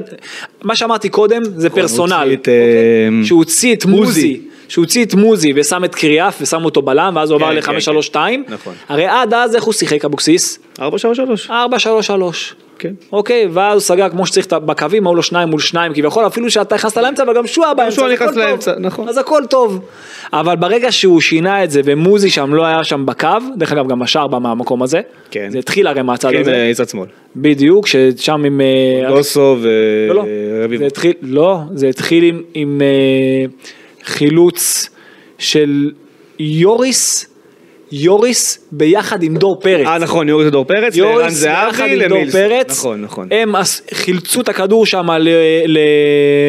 [SPEAKER 3] מה שאמרתי קודם זה פרסונל,
[SPEAKER 2] נכון,
[SPEAKER 3] אוקיי?
[SPEAKER 2] הוציא את, אה,
[SPEAKER 3] שהוא הוציא את
[SPEAKER 2] מוזי.
[SPEAKER 3] מוזי. שהוא הוציא את מוזי ושם את קריאף ושם אותו בלם ואז הוא
[SPEAKER 2] כן,
[SPEAKER 3] עבר
[SPEAKER 2] כן,
[SPEAKER 3] ל-5-3-2.
[SPEAKER 2] כן. נכון.
[SPEAKER 3] הרי עד אז איך הוא שיחק אבוקסיס?
[SPEAKER 2] 4-3-3.
[SPEAKER 3] 4-3-3.
[SPEAKER 2] כן.
[SPEAKER 3] אוקיי, ואז הוא סגר כמו שצריך את ה- בקווים, היו לו שניים מול שניים כביכול, אפילו שאתה נכנסת לאמצע וגם שועה באמצע,
[SPEAKER 2] שועה
[SPEAKER 3] אז הכל
[SPEAKER 2] נכנס
[SPEAKER 3] טוב.
[SPEAKER 2] לאמצע, נכון.
[SPEAKER 3] אז הכל טוב. אבל ברגע שהוא שינה את זה ומוזי שם לא היה שם בקו, דרך אגב גם השער בא מהמקום הזה,
[SPEAKER 2] כן.
[SPEAKER 3] זה התחיל הרי מהצד
[SPEAKER 2] כן,
[SPEAKER 3] הזה,
[SPEAKER 2] אה, צד שמאל.
[SPEAKER 3] בדיוק, ששם עם... לא, אה,
[SPEAKER 2] גוסו
[SPEAKER 3] לא, לא.
[SPEAKER 2] ורביבו.
[SPEAKER 3] זה התחיל, לא, זה התחיל עם, עם אה, חילוץ של יוריס, יוריס ביחד עם דור פרץ.
[SPEAKER 2] אה נכון, יורי זה דור פרץ, וערן
[SPEAKER 3] יוריס יחד
[SPEAKER 2] זהבי
[SPEAKER 3] עם דור
[SPEAKER 2] למילס.
[SPEAKER 3] פרץ, אה,
[SPEAKER 2] נכון, נכון.
[SPEAKER 3] הם עש- חילצו את הכדור שם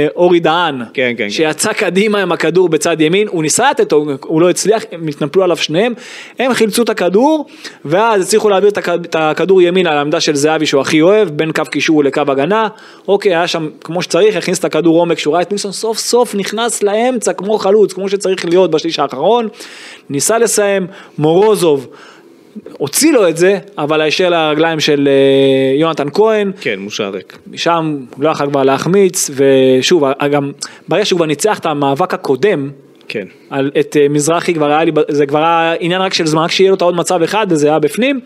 [SPEAKER 3] לאורי דהן,
[SPEAKER 2] כן, כן,
[SPEAKER 3] שיצא קדימה עם הכדור בצד ימין, הוא ניסה לתת, הוא- הוא לא הצליח, הם התנפלו עליו שניהם, הם חילצו את הכדור, ואז הצליחו להעביר את הכ- את הכדור ימינה לעמדה של זהבי שהוא הכי אוהב, בין קו קישור לקו הגנה, אוקיי, היה שם כמו שצריך, הכניס את הכדור עומק, שהוא ראה את נילסון סוף סוף נכנס לאמצע כמו חלוץ, כמו שצריך להיות בשליש האחרון, ניסה לסיים, מורוזוב. הוציא לו את זה, אבל הישר לרגליים של אה, יונתן כהן,
[SPEAKER 2] כן, מושע ריק.
[SPEAKER 3] שם לא יכול כבר להחמיץ, ושוב, אה, גם ברגע שהוא כבר ניצח את המאבק הקודם,
[SPEAKER 2] כן.
[SPEAKER 3] על, את אה, מזרחי כבר היה לי, ב- זה כבר היה עניין רק של זמן, רק שיהיה לו את העוד מצב אחד וזה היה בפנים,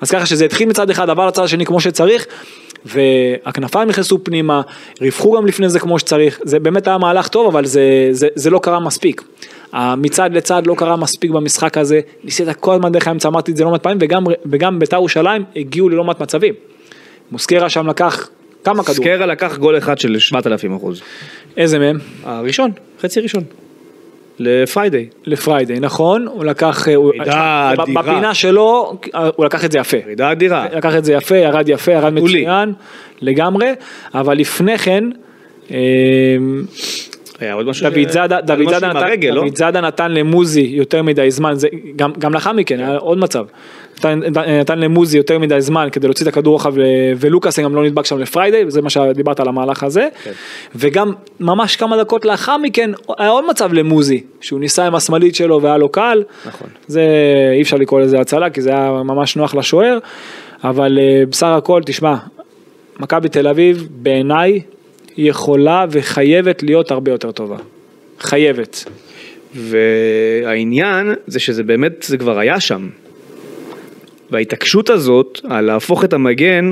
[SPEAKER 3] אז ככה שזה התחיל מצד אחד, עבר לצד השני כמו שצריך, והכנפיים נכנסו פנימה, רווחו גם לפני זה כמו שצריך, זה באמת היה מהלך טוב, אבל זה, זה, זה לא קרה מספיק. ה- מצד לצד לא קרה מספיק במשחק הזה, ניסית כל הזמן דרך האמצע, אמרתי את זה לא מעט פעמים, וגם, וגם בית"ר ירושלים הגיעו ללא מעט מצבים. מוסקרה שם לקח כמה כדור,
[SPEAKER 2] סקרה לקח גול אחד של 7,000 אחוז.
[SPEAKER 3] איזה מהם?
[SPEAKER 2] הראשון, חצי ראשון. לפריידיי.
[SPEAKER 3] לפריידי, נכון? הוא לקח, הוא- אה,
[SPEAKER 2] ירידה
[SPEAKER 3] ב-
[SPEAKER 2] אדירה.
[SPEAKER 3] בפינה שלו, אה, הוא לקח את זה יפה.
[SPEAKER 2] ירידה אדירה.
[SPEAKER 3] לקח את זה יפה, ירד יפה, ירד
[SPEAKER 2] עולי.
[SPEAKER 3] מצוין, לגמרי, אבל לפני כן, אמ,
[SPEAKER 2] היה עוד משהו.
[SPEAKER 3] דוד זאדה, דוד זאדה נתן,
[SPEAKER 2] הרגל, לא?
[SPEAKER 3] דוד זאדה נתן למוזי יותר מדי זמן, זה, גם, גם לאחר מכן היה עוד מצב, נתן, נתן למוזי יותר מדי זמן כדי להוציא את הכדור רוחב ל- ולוקאסן גם לא נדבק שם לפריידי, זה מה שדיברת על המהלך הזה, וגם ממש כמה דקות לאחר מכן היה עוד מצב למוזי, שהוא ניסה עם השמאלית שלו והיה לו קל,
[SPEAKER 2] נכון.
[SPEAKER 3] זה אי אפשר לקרוא לזה הצלה כי זה היה ממש נוח לשוער, אבל אה, בסך הכל תשמע, מכבי תל אביב בעיניי יכולה וחייבת להיות הרבה יותר טובה. חייבת.
[SPEAKER 2] והעניין זה שזה באמת, זה כבר היה שם. וההתעקשות הזאת על להפוך את המגן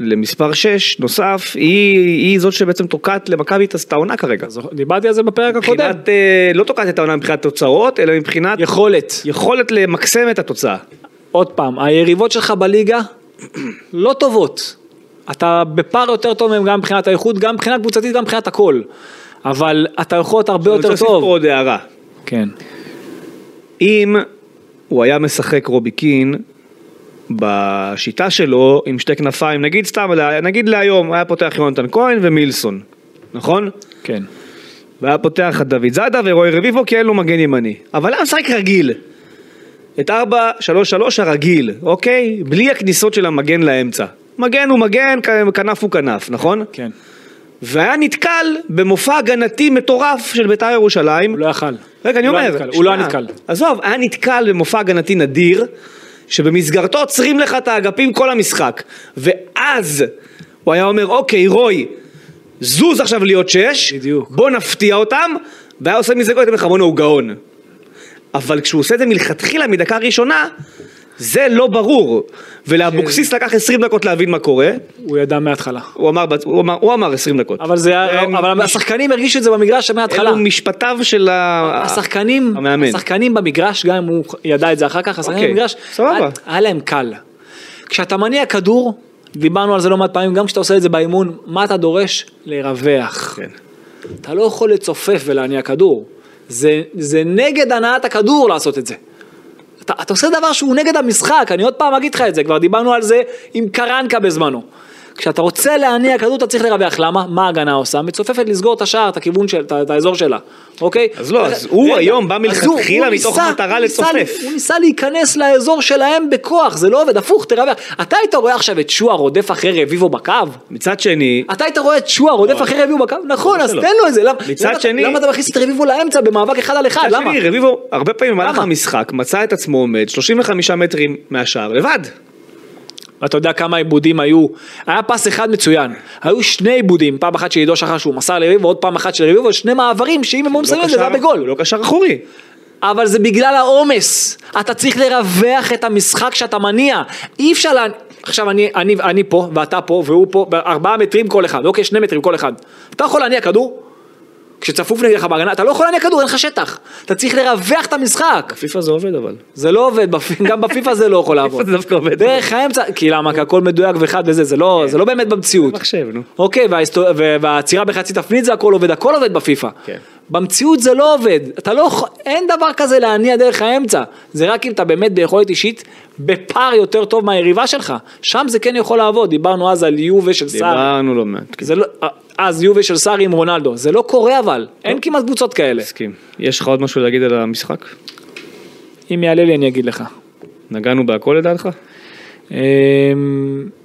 [SPEAKER 2] למספר 6 נוסף, היא, היא זאת שבעצם תוקעת למכבי את את העונה כרגע.
[SPEAKER 3] זוכ- דיברתי על זה בפרק הקודם.
[SPEAKER 2] מבחינת, אה, לא תוקעת את העונה מבחינת תוצאות, אלא מבחינת
[SPEAKER 3] יכולת.
[SPEAKER 2] יכולת למקסם את התוצאה.
[SPEAKER 3] עוד פעם, היריבות שלך בליגה <clears throat> לא טובות. אתה בפער יותר טוב מהם גם מבחינת האיכות, גם מבחינה קבוצתית, גם מבחינת הכל. אבל אתה יכול להיות הרבה
[SPEAKER 2] אני רוצה
[SPEAKER 3] יותר
[SPEAKER 2] להוסיף
[SPEAKER 3] טוב.
[SPEAKER 2] פה עוד הערה.
[SPEAKER 3] כן.
[SPEAKER 2] אם הוא היה משחק רובי קין בשיטה שלו עם שתי כנפיים, נגיד סתם, נגיד להיום, היה פותח יונתן כהן ומילסון, נכון?
[SPEAKER 3] כן.
[SPEAKER 2] והיה פותח את דוד זאדה ורועי רביבו כי אין לו מגן ימני. אבל היה משחק רגיל. את 4-3-3 הרגיל, אוקיי? בלי הכניסות של המגן לאמצע. מגן הוא מגן, כ- כנף הוא כנף, נכון?
[SPEAKER 3] כן.
[SPEAKER 2] והיה נתקל במופע הגנתי מטורף של בית"ר ירושלים.
[SPEAKER 3] הוא לא יכל.
[SPEAKER 2] רגע, אני
[SPEAKER 3] הוא לא
[SPEAKER 2] אומר,
[SPEAKER 3] היה נתקל, הוא לא היה
[SPEAKER 2] שנייה.
[SPEAKER 3] נתקל.
[SPEAKER 2] עזוב, היה נתקל במופע הגנתי נדיר, שבמסגרתו עוצרים לך את האגפים כל המשחק. ואז הוא היה אומר, אוקיי, רוי, זוז עכשיו להיות שש,
[SPEAKER 3] בדיוק.
[SPEAKER 2] בוא נפתיע אותם, והיה עושה מזה גול, הייתם לך, בואנה, הוא גאון. אבל כשהוא עושה את זה מלכתחילה, מדקה ראשונה, זה לא ברור.
[SPEAKER 3] כן.
[SPEAKER 2] ולאבוקסיס לקח 20 דקות להבין מה קורה,
[SPEAKER 3] הוא ידע מההתחלה.
[SPEAKER 2] הוא אמר, בצ- הוא אמר, הוא אמר 20 דקות.
[SPEAKER 3] אבל זה היה,
[SPEAKER 2] הם-
[SPEAKER 3] אבל השחקנים הרגישו את זה במגרש מההתחלה.
[SPEAKER 2] אלו משפטיו של ה...
[SPEAKER 3] השחקנים,
[SPEAKER 2] המאמן.
[SPEAKER 3] השחקנים במגרש, גם אם הוא ידע את זה אחר כך, השחקנים
[SPEAKER 2] אוקיי,
[SPEAKER 3] במגרש,
[SPEAKER 2] סבבה.
[SPEAKER 3] היה- היה להם קל. כשאתה מניע כדור, דיברנו על זה לא מעט פעמים, גם כשאתה עושה את זה באימון, מה אתה דורש? לרווח.
[SPEAKER 2] כן.
[SPEAKER 3] אתה לא יכול לצופף ולהניע כדור. זה, זה נגד הנעת הכדור לעשות את זה. אתה, אתה עושה דבר שהוא נגד המשחק, אני עוד פעם אגיד לך את זה, כבר דיברנו על זה עם קרנקה בזמנו. כשאתה רוצה להניע כדור אתה צריך לרווח, למה? מה ההגנה עושה? מצופפת לסגור את השער, את הכיוון של, את, ה- את האזור שלה, אוקיי?
[SPEAKER 2] אז לא, אז הוא היום בא מלכתחילה מתוך מטרה לצופף.
[SPEAKER 3] ניסה, הוא ניסה להיכנס לאזור שלהם בכוח, זה לא עובד, הפוך, תרווח. אתה היית רואה עכשיו את שועה רודף אחרי רביבו בקו?
[SPEAKER 2] מצד שני,
[SPEAKER 3] אתה היית רואה את שועה רודף אחרי רביבו בקו? נכון, אז
[SPEAKER 2] שלא.
[SPEAKER 3] תן לו את זה. למה-
[SPEAKER 2] לא? מצד
[SPEAKER 3] למה-
[SPEAKER 2] שני-
[SPEAKER 3] למה אתה מכניס את רביבו לאמצע במאבק אחד על אחד?
[SPEAKER 2] מצד
[SPEAKER 3] למה?
[SPEAKER 2] שני, רביבו הרבה פעמים במהלך
[SPEAKER 3] למה?
[SPEAKER 2] המשחק מצא את עצמו עומד 35 מטרים מהשער לבד.
[SPEAKER 3] ואתה יודע כמה עיבודים היו, היה פס אחד מצוין, היו שני עיבודים, פעם אחת של עידו שחר שהוא מסר לרביבו, ועוד פעם אחת של רביבו, שני מעברים שאם הם היו מסיימים את זה, זה היה
[SPEAKER 2] קשר- הוא
[SPEAKER 3] בגול.
[SPEAKER 2] לא קשר אחורי.
[SPEAKER 3] אבל זה בגלל העומס, אתה צריך לרווח את המשחק שאתה מניע, אי אפשר לה... עכשיו אני, אני, אני פה, ואתה פה, והוא פה, ארבעה מטרים כל אחד, אוקיי, שני מטרים כל אחד. אתה יכול להניע כדור? כשצפוף נגדך בהגנה, אתה לא יכול להניע כדור, אין לך שטח. אתה צריך לרווח את המשחק.
[SPEAKER 2] פיפ"א זה עובד אבל.
[SPEAKER 3] זה לא עובד, בפ- <laughs> גם בפיפ"א זה לא יכול לעבוד.
[SPEAKER 2] זה דווקא עובד.
[SPEAKER 3] דרך האמצע, כי למה? כי הכל מדויק וחד וזה, זה לא, זה לא באמת במציאות.
[SPEAKER 2] מחשב, נו.
[SPEAKER 3] אוקיי, וההיסטור- ו- והעצירה בחצי תפנית זה הכל עובד, הכל עובד בפיפ"א.
[SPEAKER 2] כן.
[SPEAKER 3] במציאות זה לא עובד, אתה לא, יכול- אין דבר כזה להניע דרך האמצע. זה רק אם אתה באמת ביכולת אישית בפער יותר טוב מהיריבה שלך. שם זה כן יכול לעבוד, דיברנו אז על יובה של סער.
[SPEAKER 2] דיברנו לא מעט. כן,
[SPEAKER 3] זה לא, אז יובה של סער עם רונלדו, זה לא קורה אבל, אין כמעט קבוצות כאלה.
[SPEAKER 2] מסכים. יש לך עוד משהו להגיד על המשחק?
[SPEAKER 3] אם יעלה לי אני אגיד לך.
[SPEAKER 2] נגענו בהכל לדעתך?
[SPEAKER 3] אמ,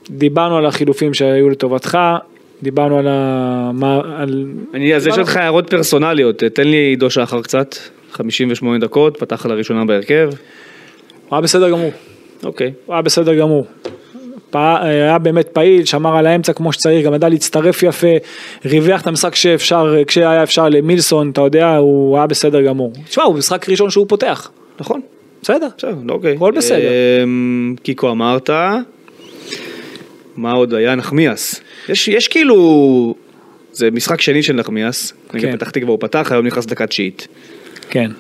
[SPEAKER 3] דיברנו על החילופים שהיו לטובתך, דיברנו על ה... מה... על...
[SPEAKER 2] אני, אז יש
[SPEAKER 3] דיברנו-
[SPEAKER 2] לך הערות פרסונליות. אה, תן לי עידו שחר קצת. 58 דקות, פתח לראשונה בהרכב.
[SPEAKER 3] הוא היה בסדר גמור,
[SPEAKER 2] אוקיי.
[SPEAKER 3] הוא היה בסדר גמור. פע- היה באמת פעיל, שמר על האמצע כמו שצריך, גם ידע להצטרף יפה, ריווח את המשחק שאפשר, כשהיה אפשר למילסון, אתה יודע, הוא היה בסדר גמור. תשמע, הוא משחק ראשון שהוא פותח,
[SPEAKER 2] נכון.
[SPEAKER 3] בסדר.
[SPEAKER 2] בסדר, לא, אוקיי.
[SPEAKER 3] הכל בסדר.
[SPEAKER 2] אמ, קיקו אמרת. מה עוד היה? נחמיאס. יש, יש כאילו... זה משחק שני של נחמיאס. נגד
[SPEAKER 3] כן.
[SPEAKER 2] פתח תקווה הוא פתח, היום נכנס דקה תשיעית.
[SPEAKER 3] כן.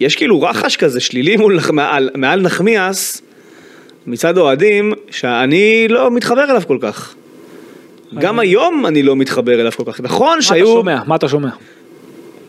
[SPEAKER 2] יש כאילו רחש כזה שלילי מול, נח- מעל, מעל נחמיאס מצד אוהדים, שאני לא מתחבר אליו כל כך. גם היום אני לא מתחבר אליו כל כך. נכון
[SPEAKER 3] אה. מה אתה
[SPEAKER 2] שהיו...
[SPEAKER 3] שומע? מה אתה שומע?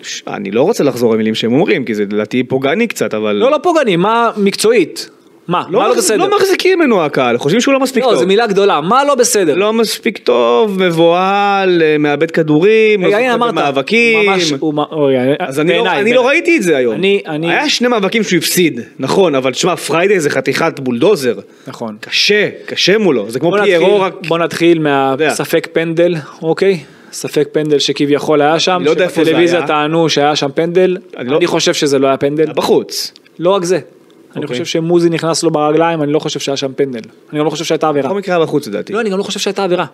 [SPEAKER 2] ש- אני לא רוצה לחזור על מילים שהם אומרים, כי זה לדעתי פוגעני קצת, אבל...
[SPEAKER 3] לא, לא פוגעני, מה מקצועית? מה? מה לא
[SPEAKER 2] מח-
[SPEAKER 3] בסדר?
[SPEAKER 2] לא מחזיקים ממנו הקהל, חושבים שהוא לא מספיק טוב.
[SPEAKER 3] לא, זו מילה גדולה, מה לא בסדר?
[SPEAKER 2] לא מספיק טוב, מבוהל, אה, מאבד כדורים, לא
[SPEAKER 3] רגע,
[SPEAKER 2] זוכר
[SPEAKER 3] הנה אמרת,
[SPEAKER 2] במאבקים.
[SPEAKER 3] ממש, הוא מ- אוי, אה,
[SPEAKER 2] אז אני, לא,
[SPEAKER 3] בעיניי,
[SPEAKER 2] אני
[SPEAKER 3] בעיניי.
[SPEAKER 2] לא ראיתי את זה היום.
[SPEAKER 3] אני- אני-
[SPEAKER 2] היה שני מאבקים שהוא הפסיד, נכון, אבל תשמע, פריידי זה חתיכת בולדוזר.
[SPEAKER 3] נכון.
[SPEAKER 2] קשה, קשה מולו, זה כמו
[SPEAKER 3] בוא
[SPEAKER 2] פיירו
[SPEAKER 3] נתחיל,
[SPEAKER 2] רק...
[SPEAKER 3] בוא נתחיל
[SPEAKER 2] יודע.
[SPEAKER 3] מהספק פנדל, אוקיי? ספק פנדל שכביכול היה שם,
[SPEAKER 2] לא יודע איפה זה
[SPEAKER 3] שבטלוויזיה
[SPEAKER 2] היה.
[SPEAKER 3] טענו שהיה שם פנדל,
[SPEAKER 2] אני לא-
[SPEAKER 3] אני חושב שזה לא היה פנדל,
[SPEAKER 2] היה בחוץ.
[SPEAKER 3] לא רק זה, אני
[SPEAKER 2] אוקיי.
[SPEAKER 3] חושב שמוזי נכנס לו ברגליים, אני לא חושב שהיה שם פנדל, אני גם לא חושב שהייתה עבירה,
[SPEAKER 2] בכל מקרה היה בחוץ לדעתי.
[SPEAKER 3] לא, אני גם לא חושב שהייתה עבירה,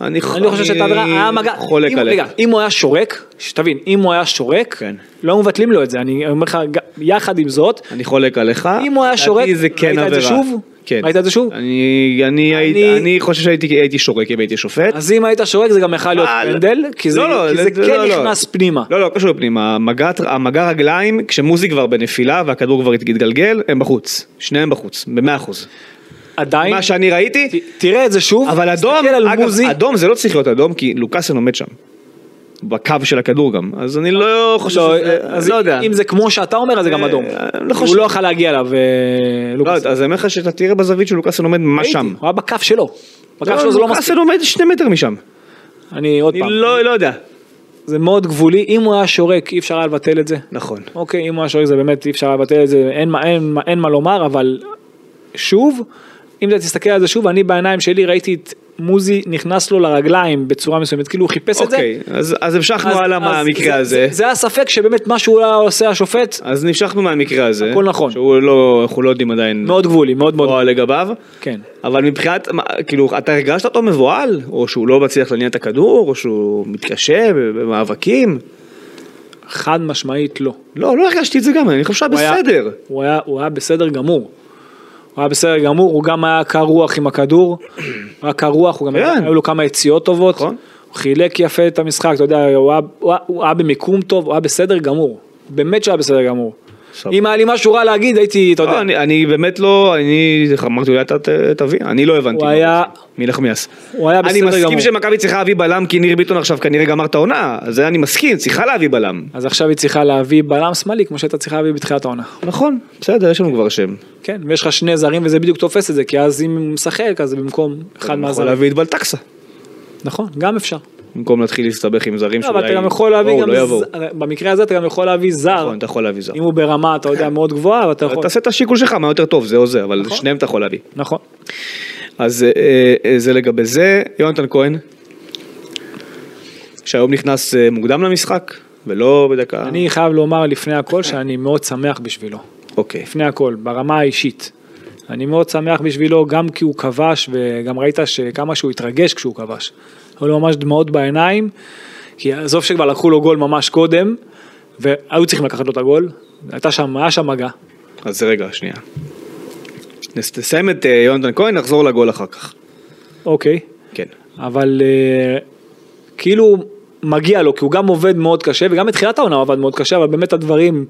[SPEAKER 2] אני ח-
[SPEAKER 3] אני חושב
[SPEAKER 2] אני
[SPEAKER 3] שהייתה עבירה, היה מגע,
[SPEAKER 2] חולק
[SPEAKER 3] אם-
[SPEAKER 2] עליך.
[SPEAKER 3] רגע, אם הוא היה שורק, שתבין, אם הוא היה שורק,
[SPEAKER 2] כן.
[SPEAKER 3] לא מבטלים לו את זה, אני אומר לך, ג- יחד עם זאת,
[SPEAKER 2] אני חולק עליך.
[SPEAKER 3] אם הוא היה
[SPEAKER 2] לדעתי
[SPEAKER 3] שורק,
[SPEAKER 2] זה כן
[SPEAKER 3] ראית את זה
[SPEAKER 2] עבירה.
[SPEAKER 3] שוב?
[SPEAKER 2] כן.
[SPEAKER 3] ראית את זה שוב?
[SPEAKER 2] אני, אני,
[SPEAKER 3] אני-
[SPEAKER 2] אני... אני חושב שהייתי הייתי שורק אם הייתי שופט.
[SPEAKER 3] אז אם היית שורק זה גם יכול להיות
[SPEAKER 2] אבל-
[SPEAKER 3] פנדל, כי זה
[SPEAKER 2] לא, לא,
[SPEAKER 3] כי זה כן
[SPEAKER 2] לא, לא.
[SPEAKER 3] נכנס פנימה.
[SPEAKER 2] לא, לא, קשור פנימה. המגע, המגע רגליים, כשמוזי כבר בנפילה והכדור כבר התגלגל, הם בחוץ. שניהם בחוץ, במאה אחוז.
[SPEAKER 3] עדיין,
[SPEAKER 2] מה שאני ראיתי,
[SPEAKER 3] ת- תראה את זה שוב,
[SPEAKER 2] אבל אדום,
[SPEAKER 3] תסתכל על
[SPEAKER 2] אגב,
[SPEAKER 3] מוזי,
[SPEAKER 2] אדום זה לא צריך להיות אדום, כי לוקאסן עומד שם. בקו של הכדור גם, אז אני לא חושב
[SPEAKER 3] לא,
[SPEAKER 2] שזה,
[SPEAKER 3] אז
[SPEAKER 2] לא יודע.
[SPEAKER 3] אם זה כמו שאתה אומר אז זה גם
[SPEAKER 2] אה,
[SPEAKER 3] אדום,
[SPEAKER 2] אה, לא
[SPEAKER 3] הוא
[SPEAKER 2] חושב.
[SPEAKER 3] לא יכול להגיע אליו, אה,
[SPEAKER 2] לא,
[SPEAKER 3] לוקאס,
[SPEAKER 2] אז אני אומר לך שאתה תראה בזווית של לוקאסן עומד ממש
[SPEAKER 3] ראיתי,
[SPEAKER 2] שם.
[SPEAKER 3] הוא היה בכף שלו, בכף שלו זה לא מספיק,
[SPEAKER 2] לוקאסן עומד שני מטר משם.
[SPEAKER 3] אני עוד
[SPEAKER 2] אני
[SPEAKER 3] פעם,
[SPEAKER 2] לא לא יודע.
[SPEAKER 3] זה מאוד גבולי, אם הוא היה שורק אי אפשר היה לבטל את זה,
[SPEAKER 2] נכון.
[SPEAKER 3] אוקיי, אם הוא היה שורק זה באמת אי אפשר היה לבטל את זה, אין מה- אין מה- אין מה לומר, אבל שוב, אם אתה תסתכל על זה שוב, אני בעיניים שלי ראיתי את מוזי נכנס לו לרגליים בצורה מסוימת, כאילו הוא חיפש את זה,
[SPEAKER 2] אוקיי, אז אז המשכנו
[SPEAKER 3] אז-
[SPEAKER 2] הלאה
[SPEAKER 3] אז
[SPEAKER 2] מהמקרה
[SPEAKER 3] זה-
[SPEAKER 2] הזה.
[SPEAKER 3] זה- זה הספק שבאמת מה שהוא היה עושה השופט,
[SPEAKER 2] אז נמשכנו מהמקרה הזה.
[SPEAKER 3] הכל נכון.
[SPEAKER 2] שהוא לא, אנחנו לא יודעים עדיין.
[SPEAKER 3] מאוד גבולי, מאוד מאוד.
[SPEAKER 2] או לגביו.
[SPEAKER 3] כן.
[SPEAKER 2] אבל מבחינת, מה, כאילו, אתה הרגשת אותו מבוהל? או שהוא לא מצליח להניע את הכדור? או שהוא מתקשה במאבקים?
[SPEAKER 3] חד משמעית לא.
[SPEAKER 2] לא, לא הרגשתי את זה גם, אני חושב שהיה
[SPEAKER 3] הוא היה-
[SPEAKER 2] בסדר.
[SPEAKER 3] הוא היה- הוא היה בסדר גמור. הוא היה בסדר גמור, הוא גם היה קר רוח עם הכדור, הוא היה קר רוח, הוא גם
[SPEAKER 2] כן.
[SPEAKER 3] היו לו כמה יציאות טובות,
[SPEAKER 2] נכון.
[SPEAKER 3] הוא חילק יפה את המשחק, אתה יודע, הוא היה- הוא היה- הוא היה במיקום טוב, הוא היה בסדר גמור, באמת שהוא היה בסדר גמור.
[SPEAKER 2] סבבה.
[SPEAKER 3] אם היה לי משהו רע להגיד, הייתי, אתה
[SPEAKER 2] לא,
[SPEAKER 3] יודע,
[SPEAKER 2] אני, אני באמת לא, אני אמרתי אולי אתה ת- תביא, אני לא הבנתי.
[SPEAKER 3] הוא
[SPEAKER 2] מה
[SPEAKER 3] היה-
[SPEAKER 2] מנחמיאס.
[SPEAKER 3] הוא היה
[SPEAKER 2] אני
[SPEAKER 3] בסדר
[SPEAKER 2] מסכים
[SPEAKER 3] גמור.
[SPEAKER 2] שמכבי צריכה להביא בלם כי ניר ביטון עכשיו כנראה גמר את העונה, אז זה אני מסכים, צריכה להביא בלם.
[SPEAKER 3] אז עכשיו היא צריכה להביא בלם שמאלי כמו שהייתה צריכה להביא בתחילת העונה.
[SPEAKER 2] נכון, בסדר, יש לנו כבר שם.
[SPEAKER 3] כן, ויש לך שני זרים וזה בדיוק תופס את זה, כי אז אם הוא משחק, אז זה במקום אחד
[SPEAKER 2] אתה יכול
[SPEAKER 3] מהזרים.
[SPEAKER 2] להביא את בלטקסה,
[SPEAKER 3] נכון, גם אפשר.
[SPEAKER 2] במקום להתחיל להסתבך עם זרים
[SPEAKER 3] לא, אבל אתה
[SPEAKER 2] שאולי
[SPEAKER 3] גם יכול להביא
[SPEAKER 2] יבואו,
[SPEAKER 3] גם,
[SPEAKER 2] לא יבואו.
[SPEAKER 3] ז- במקרה הזה אתה גם יכול להביא זר,
[SPEAKER 2] נכון, אתה יכול להביא זר.
[SPEAKER 3] אם הוא ברמה, אתה יודע, מאוד גבוהה, אבל אתה יכול.
[SPEAKER 2] תעשה את השיקול שלך, מה יותר טוב, זה או זה, אבל שניהם אתה יכול להביא.
[SPEAKER 3] נכון.
[SPEAKER 2] אז אה, אה, זה לגבי זה. יונתן כהן, שהיום נכנס אה, מוקדם למשחק, ולא בדקה...
[SPEAKER 3] אני חייב לומר לפני
[SPEAKER 2] כן.
[SPEAKER 3] הכל שאני מאוד שמח בשבילו.
[SPEAKER 2] אוקיי.
[SPEAKER 3] לפני הכל, ברמה האישית. אני מאוד שמח בשבילו, גם כי הוא כבש, וגם ראית שכמה שהוא התרגש כשהוא כבש. היו לו ממש דמעות בעיניים, כי עזוב שכבר לקחו לו גול ממש קודם, והיו צריכים לקחת לו את הגול, הייתה שם, היה שם מגע.
[SPEAKER 2] אז רגע, שנייה. נס- נסיים את אה, יונתן כהן, נחזור לגול אחר כך.
[SPEAKER 3] אוקיי.
[SPEAKER 2] כן.
[SPEAKER 3] אבל אה, כאילו מגיע לו, כי הוא גם עובד מאוד קשה, וגם בתחילת העונה הוא עבד מאוד קשה, אבל באמת הדברים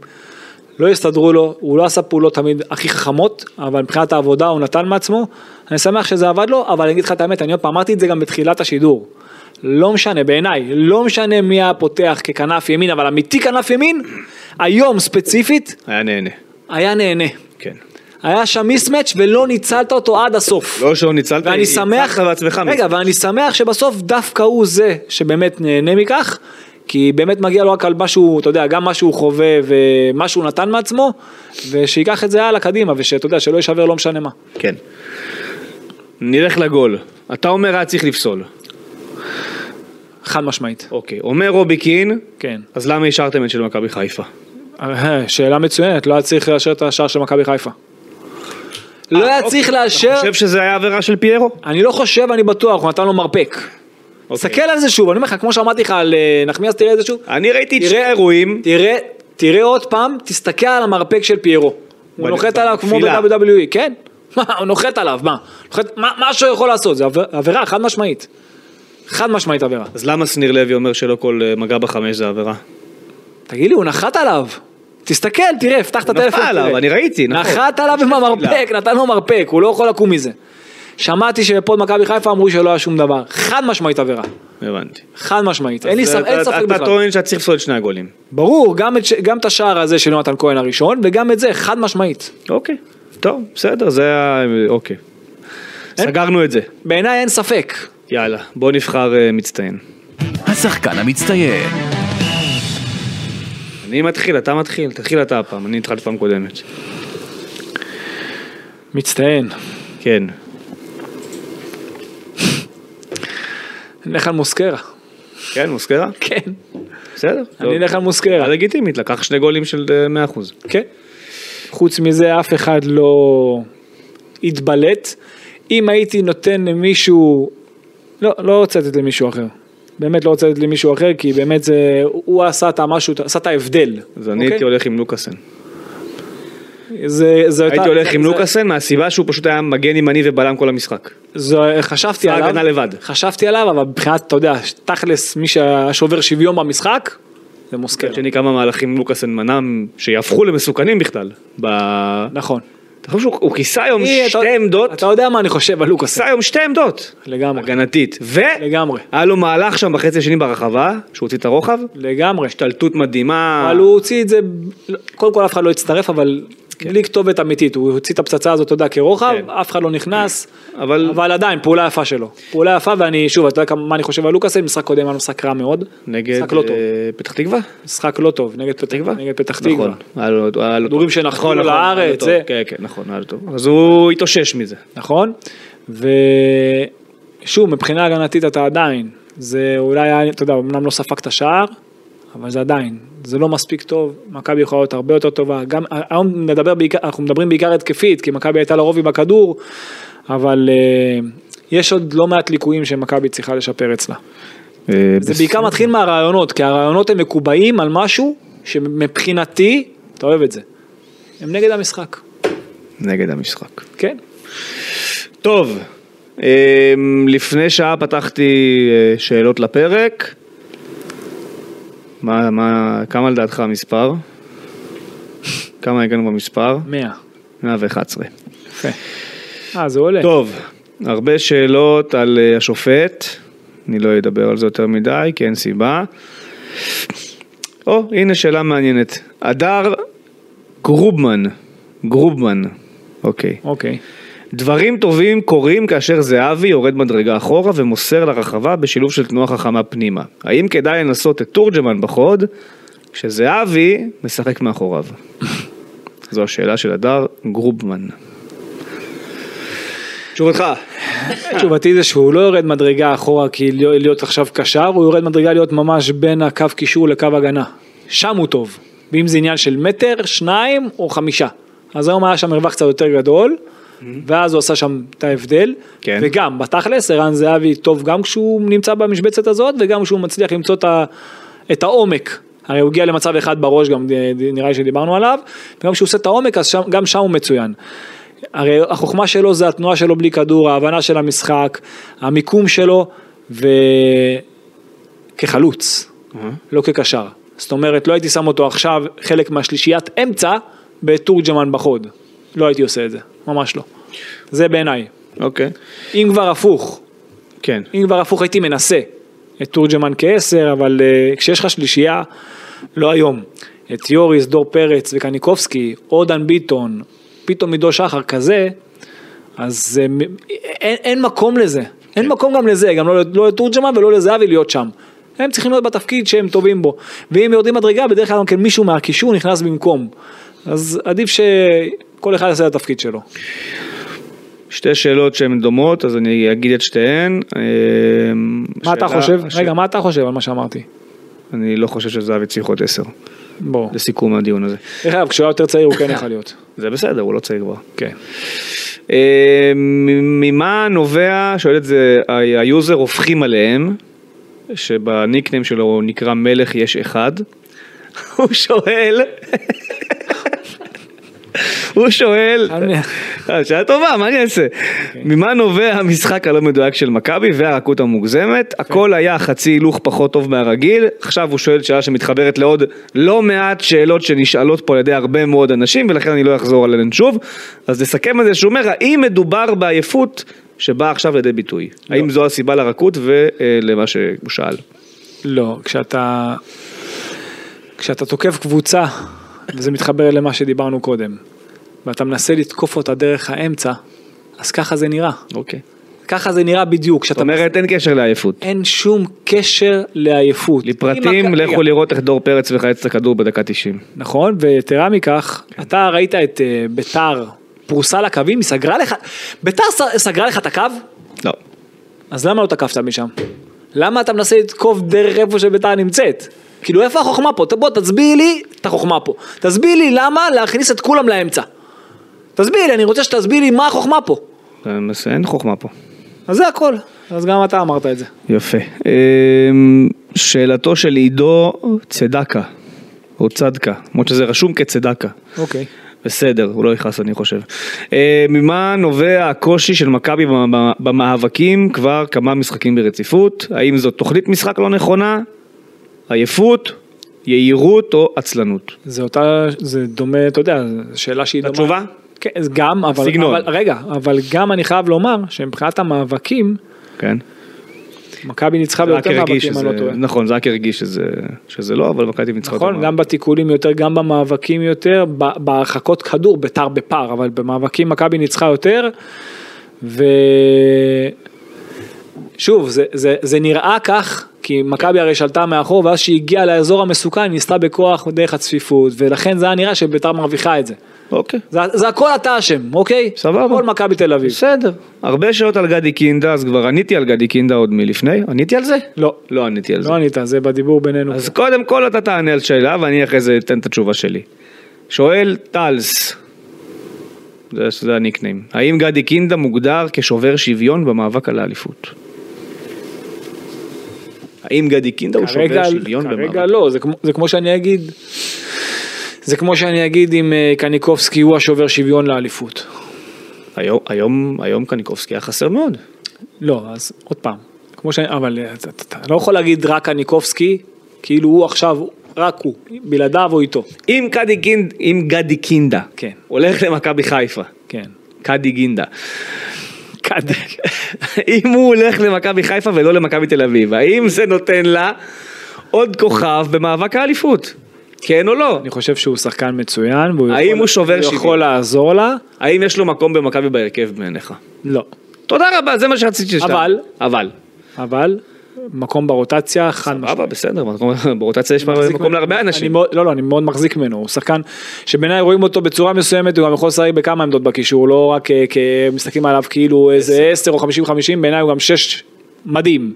[SPEAKER 3] לא הסתדרו לו, הוא לא עשה פעולות תמיד הכי חכמות, אבל מבחינת העבודה הוא נתן מעצמו. אני שמח שזה עבד לו, אבל אני אגיד לך את האמת, אני עוד פעם אמרתי את זה גם בתחילת השידור. לא משנה, בעיניי, לא משנה מי היה פותח ככנף ימין, אבל אמיתי כנף ימין, היום ספציפית,
[SPEAKER 2] היה נהנה.
[SPEAKER 3] היה נהנה.
[SPEAKER 2] כן.
[SPEAKER 3] היה שם מיסמץ' ולא ניצלת אותו עד הסוף.
[SPEAKER 2] לא שלא ניצלת,
[SPEAKER 3] ואני שמח,
[SPEAKER 2] ניצלת בעצמך.
[SPEAKER 3] רגע, ואני שמח שבסוף דווקא הוא זה שבאמת נהנה מכך, כי באמת מגיע לו רק על מה שהוא, אתה יודע, גם מה שהוא חווה ומה שהוא נתן מעצמו, ושייקח את זה הלאה קדימה, ושאתה יודע, שלא יישבר לא משנה מה.
[SPEAKER 2] כן. נלך לגול. אתה אומר היה צריך לפסול.
[SPEAKER 3] חד משמעית,
[SPEAKER 2] אוקיי. אומר רובי קין,
[SPEAKER 3] כן.
[SPEAKER 2] אז למה השארתם את של מכבי חיפה?
[SPEAKER 3] אה, שאלה מצוינת, לא היה צריך לאשר את השער של מכבי חיפה. לא היה צריך
[SPEAKER 2] אני
[SPEAKER 3] לאשר,
[SPEAKER 2] אה, אוקיי. חושב שזה היה עבירה של פיירו?
[SPEAKER 3] אני לא חושב, אני בטוח, הוא נתן לו מרפק.
[SPEAKER 2] אוקיי.
[SPEAKER 3] תסתכל על זה שוב, אני אומר לך, כמו שאמרתי לך על אה, נחמיאס, תראה את זה שוב.
[SPEAKER 2] אני ראיתי את שני
[SPEAKER 3] תראה-
[SPEAKER 2] האירועים.
[SPEAKER 3] תראה, תראה עוד פעם, תסתכל על המרפק של פיירו. הוא
[SPEAKER 2] בנ-
[SPEAKER 3] נוחת עליו כמו
[SPEAKER 2] בנפילה.
[SPEAKER 3] ב-WWE, כן? <laughs> מה, הוא נוחת עליו, מה? נוחת, מה, מה שהוא יכול לעשות, זה עבר- עבירה חד משמעית. חד משמעית עבירה.
[SPEAKER 2] אז למה שניר לוי אומר שלא כל אה, מגע בחמש זה עבירה?
[SPEAKER 3] תגיד לי, הוא נחת עליו. תסתכל, תראה, פתח את
[SPEAKER 2] הוא נפל
[SPEAKER 3] הטלפון.
[SPEAKER 2] עליו,
[SPEAKER 3] תראה.
[SPEAKER 2] אני ראיתי, נכון.
[SPEAKER 3] נחת עליו עם המרפק, נתן לו מרפק, הוא לא יכול לקום מזה. שמעתי שבפוד מכבי חיפה אמרו שלא היה שום דבר. חד משמעית עבירה.
[SPEAKER 2] הבנתי.
[SPEAKER 3] חד משמעית. אין לי
[SPEAKER 2] אז אה,
[SPEAKER 3] ספק אין
[SPEAKER 2] אתה-
[SPEAKER 3] ספק
[SPEAKER 2] אתה
[SPEAKER 3] בכלל.
[SPEAKER 2] טוען שאתה צריך לפסול את שני הגולים.
[SPEAKER 3] ברור, גם את ש- גם את השער הזה של יונתן כהן הראשון, וגם את זה, חד משמעית.
[SPEAKER 2] אוקיי. טוב, בסדר, זה היה... אוקיי. סגרנו את זה.
[SPEAKER 3] בעיניי אין ספק.
[SPEAKER 2] יאללה, בוא נבחר אה, מצטיין.
[SPEAKER 1] השחקן המצטיין.
[SPEAKER 2] אני מתחיל, אתה מתחיל, תתחיל אתה הפעם, אני התחלתי פעם קודמת.
[SPEAKER 3] מצטיין.
[SPEAKER 2] כן.
[SPEAKER 3] נלך על מוסקרה.
[SPEAKER 2] כן, מוסקרה?
[SPEAKER 3] כן.
[SPEAKER 2] בסדר.
[SPEAKER 3] אני אלך על מוסקרה.
[SPEAKER 2] היה לגיטימית, לקח שני גולים של אה, 100%.
[SPEAKER 3] כן. חוץ מזה אף אחד לא התבלט. אם הייתי נותן למישהו לא, לא רוצה לתת למישהו אחר. באמת לא רוצה לתת למישהו אחר, כי באמת זה, הוא עשה את המשהו, עשה את ההבדל.
[SPEAKER 2] אז אני
[SPEAKER 3] אוקיי?
[SPEAKER 2] הייתי הולך עם לוקאסן.
[SPEAKER 3] זה, זה
[SPEAKER 2] הייתי הולך עם
[SPEAKER 3] זה-
[SPEAKER 2] לוקאסן מהסיבה שהוא פשוט היה מגן ימני ובלם כל המשחק.
[SPEAKER 3] זה, חשבתי
[SPEAKER 2] שר
[SPEAKER 3] עליו,
[SPEAKER 2] הגנה לבד.
[SPEAKER 3] חשבתי עליו, אבל מבחינת, אתה יודע, תכלס, מי ששובר שוויון במשחק, זה מוסקר.
[SPEAKER 2] מצד שני כמה מהלכים לוקאסן מנע שיהפכו למסוכנים בכלל. ב...
[SPEAKER 3] נכון.
[SPEAKER 2] אתה חושב שהוא הוא כיסה היום
[SPEAKER 3] אה, אתה-
[SPEAKER 2] שתי עמדות,
[SPEAKER 3] אתה יודע מה אני חושב על לוקאס.
[SPEAKER 2] כיסה היום שתי עמדות.
[SPEAKER 3] לגמרי.
[SPEAKER 2] הגנתית. ו...
[SPEAKER 3] לגמרי.
[SPEAKER 2] היה לו מהלך שם בחצי השני ברחבה, שהוא הוציא את הרוחב.
[SPEAKER 3] לגמרי.
[SPEAKER 2] השתלטות מדהימה.
[SPEAKER 3] אבל הוא הוציא את זה, קודם כל אף אחד לא הצטרף, אבל בלי כתובת אמיתית, הוא הוציא את הפצצה הזאת, אתה יודע, כרוחב,
[SPEAKER 2] כן.
[SPEAKER 3] אף אחד לא נכנס,
[SPEAKER 2] אבל-
[SPEAKER 3] אבל עדיין, פעולה יפה שלו. פעולה יפה, ואני, שוב, אתה יודע כמה- מה אני חושב על לוקאסן, משחק קודם היה משחק רע מאוד.
[SPEAKER 2] נגד
[SPEAKER 3] משחק לא טוב.
[SPEAKER 2] אה, פתח תקווה?
[SPEAKER 3] משחק לא טוב, נגד פתח
[SPEAKER 2] תקווה?
[SPEAKER 3] תקווה. נגד פתח תקווה.
[SPEAKER 2] נכון, היה לו- היה לו
[SPEAKER 3] כדורים
[SPEAKER 2] טוב.
[SPEAKER 3] שנחתו
[SPEAKER 2] נכון, נכון,
[SPEAKER 3] לארץ,
[SPEAKER 2] היה לו טוב.
[SPEAKER 3] זה.
[SPEAKER 2] כן, כן, נכון, היה לו טוב. אז הוא התאושש מזה.
[SPEAKER 3] נכון? ושוב, מבחינה הגנתית אתה עדיין, זה אולי, היה- אתה יודע, אמנם לא ספגת שער, אבל זה עדיין, זה לא מספיק טוב, מכבי יכולה להיות הרבה יותר טובה, גם היום נדבר בעיקר, אנחנו מדברים בעיקר התקפית, כי מכבי הייתה לרוב עם הכדור, אבל אה, יש עוד לא מעט ליקויים שמכבי צריכה לשפר אצלה.
[SPEAKER 2] אה,
[SPEAKER 3] זה בעיקר מתחיל מהרעיונות, כי הרעיונות הם מקובעים על משהו שמבחינתי, אתה אוהב את זה, הם נגד המשחק,
[SPEAKER 2] נגד המשחק.
[SPEAKER 3] כן?
[SPEAKER 2] טוב, אמ, לפני שעה פתחתי אה, שאלות לפרק. מה, מה, כמה לדעתך המספר? כמה הגענו במספר?
[SPEAKER 3] 100.
[SPEAKER 2] 111.
[SPEAKER 3] יפה. אה, זה עולה.
[SPEAKER 2] טוב, הרבה שאלות על אה, השופט, אני לא אדבר על זה יותר מדי, כי אין סיבה. או, הנה שאלה מעניינת. הדר גרובמן, גרובמן, אוקיי.
[SPEAKER 3] אוקיי.
[SPEAKER 2] דברים טובים קורים כאשר זהבי יורד מדרגה אחורה ומוסר לרחבה בשילוב של תנועה חכמה פנימה. האם כדאי לנסות את תורג'מן בחוד, כשזהבי משחק מאחוריו? <laughs> זו השאלה של הדר גרובמן. תשובתך.
[SPEAKER 3] תשובתי זה שהוא לא יורד מדרגה אחורה כי להיות- להיות עכשיו קשר, הוא יורד מדרגה להיות ממש בין הקו קישור לקו הגנה. שם הוא טוב. ואם זה עניין של מטר, שניים או חמישה. אז היום היה שם מרווח קצת יותר גדול, ואז הוא עשה שם את ההבדל.
[SPEAKER 2] Mm-hmm. כן.
[SPEAKER 3] וגם, בתכלס, ערן זהבי טוב גם כשהוא נמצא במשבצת הזאת, וגם כשהוא מצליח למצוא את, ה, את העומק. הרי הוא הגיע למצב אחד בראש, גם אה, נראה לי שדיברנו עליו, וגם כשהוא עושה את העומק, אז שם, גם שם הוא מצוין. הרי החוכמה שלו זה התנועה שלו בלי כדור, ההבנה של המשחק, המיקום שלו, וכחלוץ, לא כקשר. זאת אומרת, לא הייתי שם אותו עכשיו חלק מהשלישיית אמצע בתורג'מן בחוד. לא הייתי עושה את זה, ממש לא. זה בעיניי.
[SPEAKER 2] אוקיי.
[SPEAKER 3] אם כבר הפוך,
[SPEAKER 2] כן.
[SPEAKER 3] אם כבר הפוך הייתי מנסה את תורג'מן כעשר, אבל אה, כשיש לך שלישייה, לא היום, את יוריס, דור פרץ וקניקובסקי, או דן ביטון, פתאום עידו שחר כזה, אז אה, מ- אין, אין מקום לזה. אין מקום גם לזה, גם לא, לא לתורג'מן ולא לזהבי להיות שם. הם צריכים להיות בתפקיד שהם טובים בו. ואם יורדים מדרגה, בדרך כלל גם כן מישהו מהקישור נכנס במקום. אז עדיף שכל אחד יעשה את התפקיד שלו.
[SPEAKER 2] שתי שאלות שהן דומות, אז אני אגיד את שתיהן. אה,
[SPEAKER 3] מה אתה
[SPEAKER 2] השאלה-
[SPEAKER 3] חושב?
[SPEAKER 2] הש-
[SPEAKER 3] רגע, מה אתה חושב על מה שאמרתי?
[SPEAKER 2] אני לא חושב שזהבי צריך עוד עשר,
[SPEAKER 3] בוא.
[SPEAKER 2] לסיכום הדיון הזה.
[SPEAKER 3] דרך אגב, כשהוא היה יותר צעיר הוא <coughs> כן יכול להיות.
[SPEAKER 2] זה בסדר, הוא לא צריך כבר.
[SPEAKER 3] כן.
[SPEAKER 2] אה, מ- ממה נובע, שואל את זה ה- היוזר הופכים עליהם, שבניקניים שלו הוא נקרא מלך יש אחד, הוא שואל, הוא שואל, אה, שאלה טובה, מה אני אעשה? ממה נובע המשחק הלא מדויק של מכבי והרקות המוגזמת? הכל היה חצי הילוך פחות טוב מהרגיל, עכשיו הוא שואל שאלה שמתחברת לעוד לא מעט שאלות שנשאלות פה על ידי הרבה מאוד אנשים, ולכן אני לא אחזור עליהן שוב. אז נסכם את זה שהוא אומר, האם מדובר בעייפות שבאה עכשיו לידי ביטוי? האם זו הסיבה לרקות ולמה שהוא שאל?
[SPEAKER 3] לא, כשאתה... כשאתה תוקף קבוצה, וזה מתחבר למה שדיברנו קודם, ואתה מנסה לתקוף אותה דרך האמצע, אז ככה זה נראה.
[SPEAKER 2] אוקיי.
[SPEAKER 3] ככה זה נראה בדיוק.
[SPEAKER 2] זאת
[SPEAKER 3] כשאתה...
[SPEAKER 2] אומרת, אין קשר לעייפות.
[SPEAKER 3] אין שום קשר לעייפות. אם
[SPEAKER 2] לפרטים,
[SPEAKER 3] הכ-
[SPEAKER 2] לכו לראות איך דור פרץ מחלץ את הכדור בדקה 90.
[SPEAKER 3] נכון, ויתרה מכך,
[SPEAKER 2] כן.
[SPEAKER 3] אתה ראית את אה, ביתר פרוסה לקווים, היא סגרה לך... ביתר ס- סגרה לך את הקו?
[SPEAKER 2] לא.
[SPEAKER 3] אז למה לא תקפת משם? למה אתה מנסה לתקוף דרך איפה שביתר נמצאת? כאילו איפה החוכמה פה? ת- בוא תסביר לי את החוכמה פה. תסביר לי למה להכניס את כולם לאמצע. תסביר לי, אני רוצה שתסביר לי מה החוכמה פה.
[SPEAKER 2] אה, אז אין חוכמה פה.
[SPEAKER 3] אז זה הכל. אז גם אתה אמרת את זה.
[SPEAKER 2] יפה. אמ, שאלתו של עידו צדקה, או צדקה, למרות שזה רשום כצדקה.
[SPEAKER 3] אוקיי.
[SPEAKER 2] בסדר, הוא לא יכעס אני חושב. אה, ממה נובע הקושי של מכבי במ- במאבקים כבר כמה משחקים ברציפות? האם זאת תוכנית משחק לא נכונה? עייפות? יהירות או עצלנות?
[SPEAKER 3] זה אותה, זה דומה, אתה יודע, זו שאלה שהיא דומה.
[SPEAKER 2] התשובה?
[SPEAKER 3] כן, אז גם, אבל,
[SPEAKER 2] סגנון.
[SPEAKER 3] אבל, רגע, אבל גם אני חייב לומר שמבחינת המאבקים,
[SPEAKER 2] כן.
[SPEAKER 3] מכבי ניצחה
[SPEAKER 2] רק
[SPEAKER 3] ביותר
[SPEAKER 2] הרגיש
[SPEAKER 3] מאבקים, אני
[SPEAKER 2] שזה,
[SPEAKER 3] לא טועה.
[SPEAKER 2] נכון, זאק הרגיש שזה, שזה לא, אבל מכבי ניצחה את
[SPEAKER 3] נכון,
[SPEAKER 2] המאבק.
[SPEAKER 3] גם בתיקולים יותר, גם במאבקים יותר, ב- בהרחקות כדור, ביתר בפער, אבל במאבקים מכבי ניצחה יותר, ו... שוב, זה, זה, זה נראה כך, כי מכבי הרי שלטה מאחור, ואז שהיא הגיעה לאזור המסוכן, היא ניסתה בכוח דרך הצפיפות, ולכן זה היה נראה שביתר מרוויחה את זה.
[SPEAKER 2] אוקיי.
[SPEAKER 3] זה, זה הכל אתה אשם, אוקיי?
[SPEAKER 2] סבבה.
[SPEAKER 3] כל מכבי תל אביב.
[SPEAKER 2] בסדר. הרבה שאלות על גדי קינדה, אז כבר עניתי על גדי קינדה עוד מלפני. עניתי על זה?
[SPEAKER 3] לא,
[SPEAKER 2] לא עניתי על זה.
[SPEAKER 3] לא ענית, זה בדיבור בינינו.
[SPEAKER 2] אז קודם כל אתה תענה על שאלה ואני אחרי זה אתן את התשובה שלי. שואל טלס, זה, זה הניקניים, האם גדי קינדה מוגדר כשובר שוויון במאבק על האליפות? האם גדי קינדה הוא שובר שוויון במאבק?
[SPEAKER 3] כרגע לא, זה כמו, זה כמו שאני אגיד, זה כמו שאני אגיד אם אה, קניקובסקי הוא השובר שוויון לאליפות.
[SPEAKER 2] היום, היום, היום קניקובסקי היה חסר מאוד.
[SPEAKER 3] לא, אז עוד פעם, כמו שאני, אבל אה, אתה, אתה, אתה לא יכול להגיד רק קניקובסקי, כאילו הוא עכשיו, רק הוא, בלעדיו או איתו.
[SPEAKER 2] אם גדי, קינד, אם גדי קינדה
[SPEAKER 3] כן.
[SPEAKER 2] הולך למכבי חיפה,
[SPEAKER 3] כן.
[SPEAKER 2] קדי גינדה,
[SPEAKER 3] קדי.
[SPEAKER 2] <laughs> אם הוא הולך למכבי חיפה ולא למכבי תל אביב, האם זה נותן לה עוד כוכב במאבק האליפות? כן או לא?
[SPEAKER 3] אני חושב שהוא שחקן מצוין, והוא
[SPEAKER 2] האם
[SPEAKER 3] יכול,
[SPEAKER 2] הוא שובר
[SPEAKER 3] הוא יכול
[SPEAKER 2] שוויון?
[SPEAKER 3] לעזור לה,
[SPEAKER 2] האם יש לו מקום במכבי בהרכב בעיניך?
[SPEAKER 3] לא.
[SPEAKER 2] תודה רבה, זה מה שרציתי שתענה.
[SPEAKER 3] אבל-
[SPEAKER 2] אבל.
[SPEAKER 3] אבל, מקום ברוטציה, חד משמעית.
[SPEAKER 2] סבבה, בסדר, מקום- ברוטציה יש
[SPEAKER 3] מחזיק
[SPEAKER 2] מקום
[SPEAKER 3] ממנו.
[SPEAKER 2] להרבה
[SPEAKER 3] אני
[SPEAKER 2] אנשים.
[SPEAKER 3] מאוד, לא, לא, אני מאוד מחזיק ממנו, הוא שחקן שבעיניי רואים אותו בצורה מסוימת, הוא גם יכול לשחק בכמה עמדות בקישור, לא רק אה, כמסתכלים עליו כאילו איזה 10 או 50-50, בעיניי הוא גם 6 מדהים.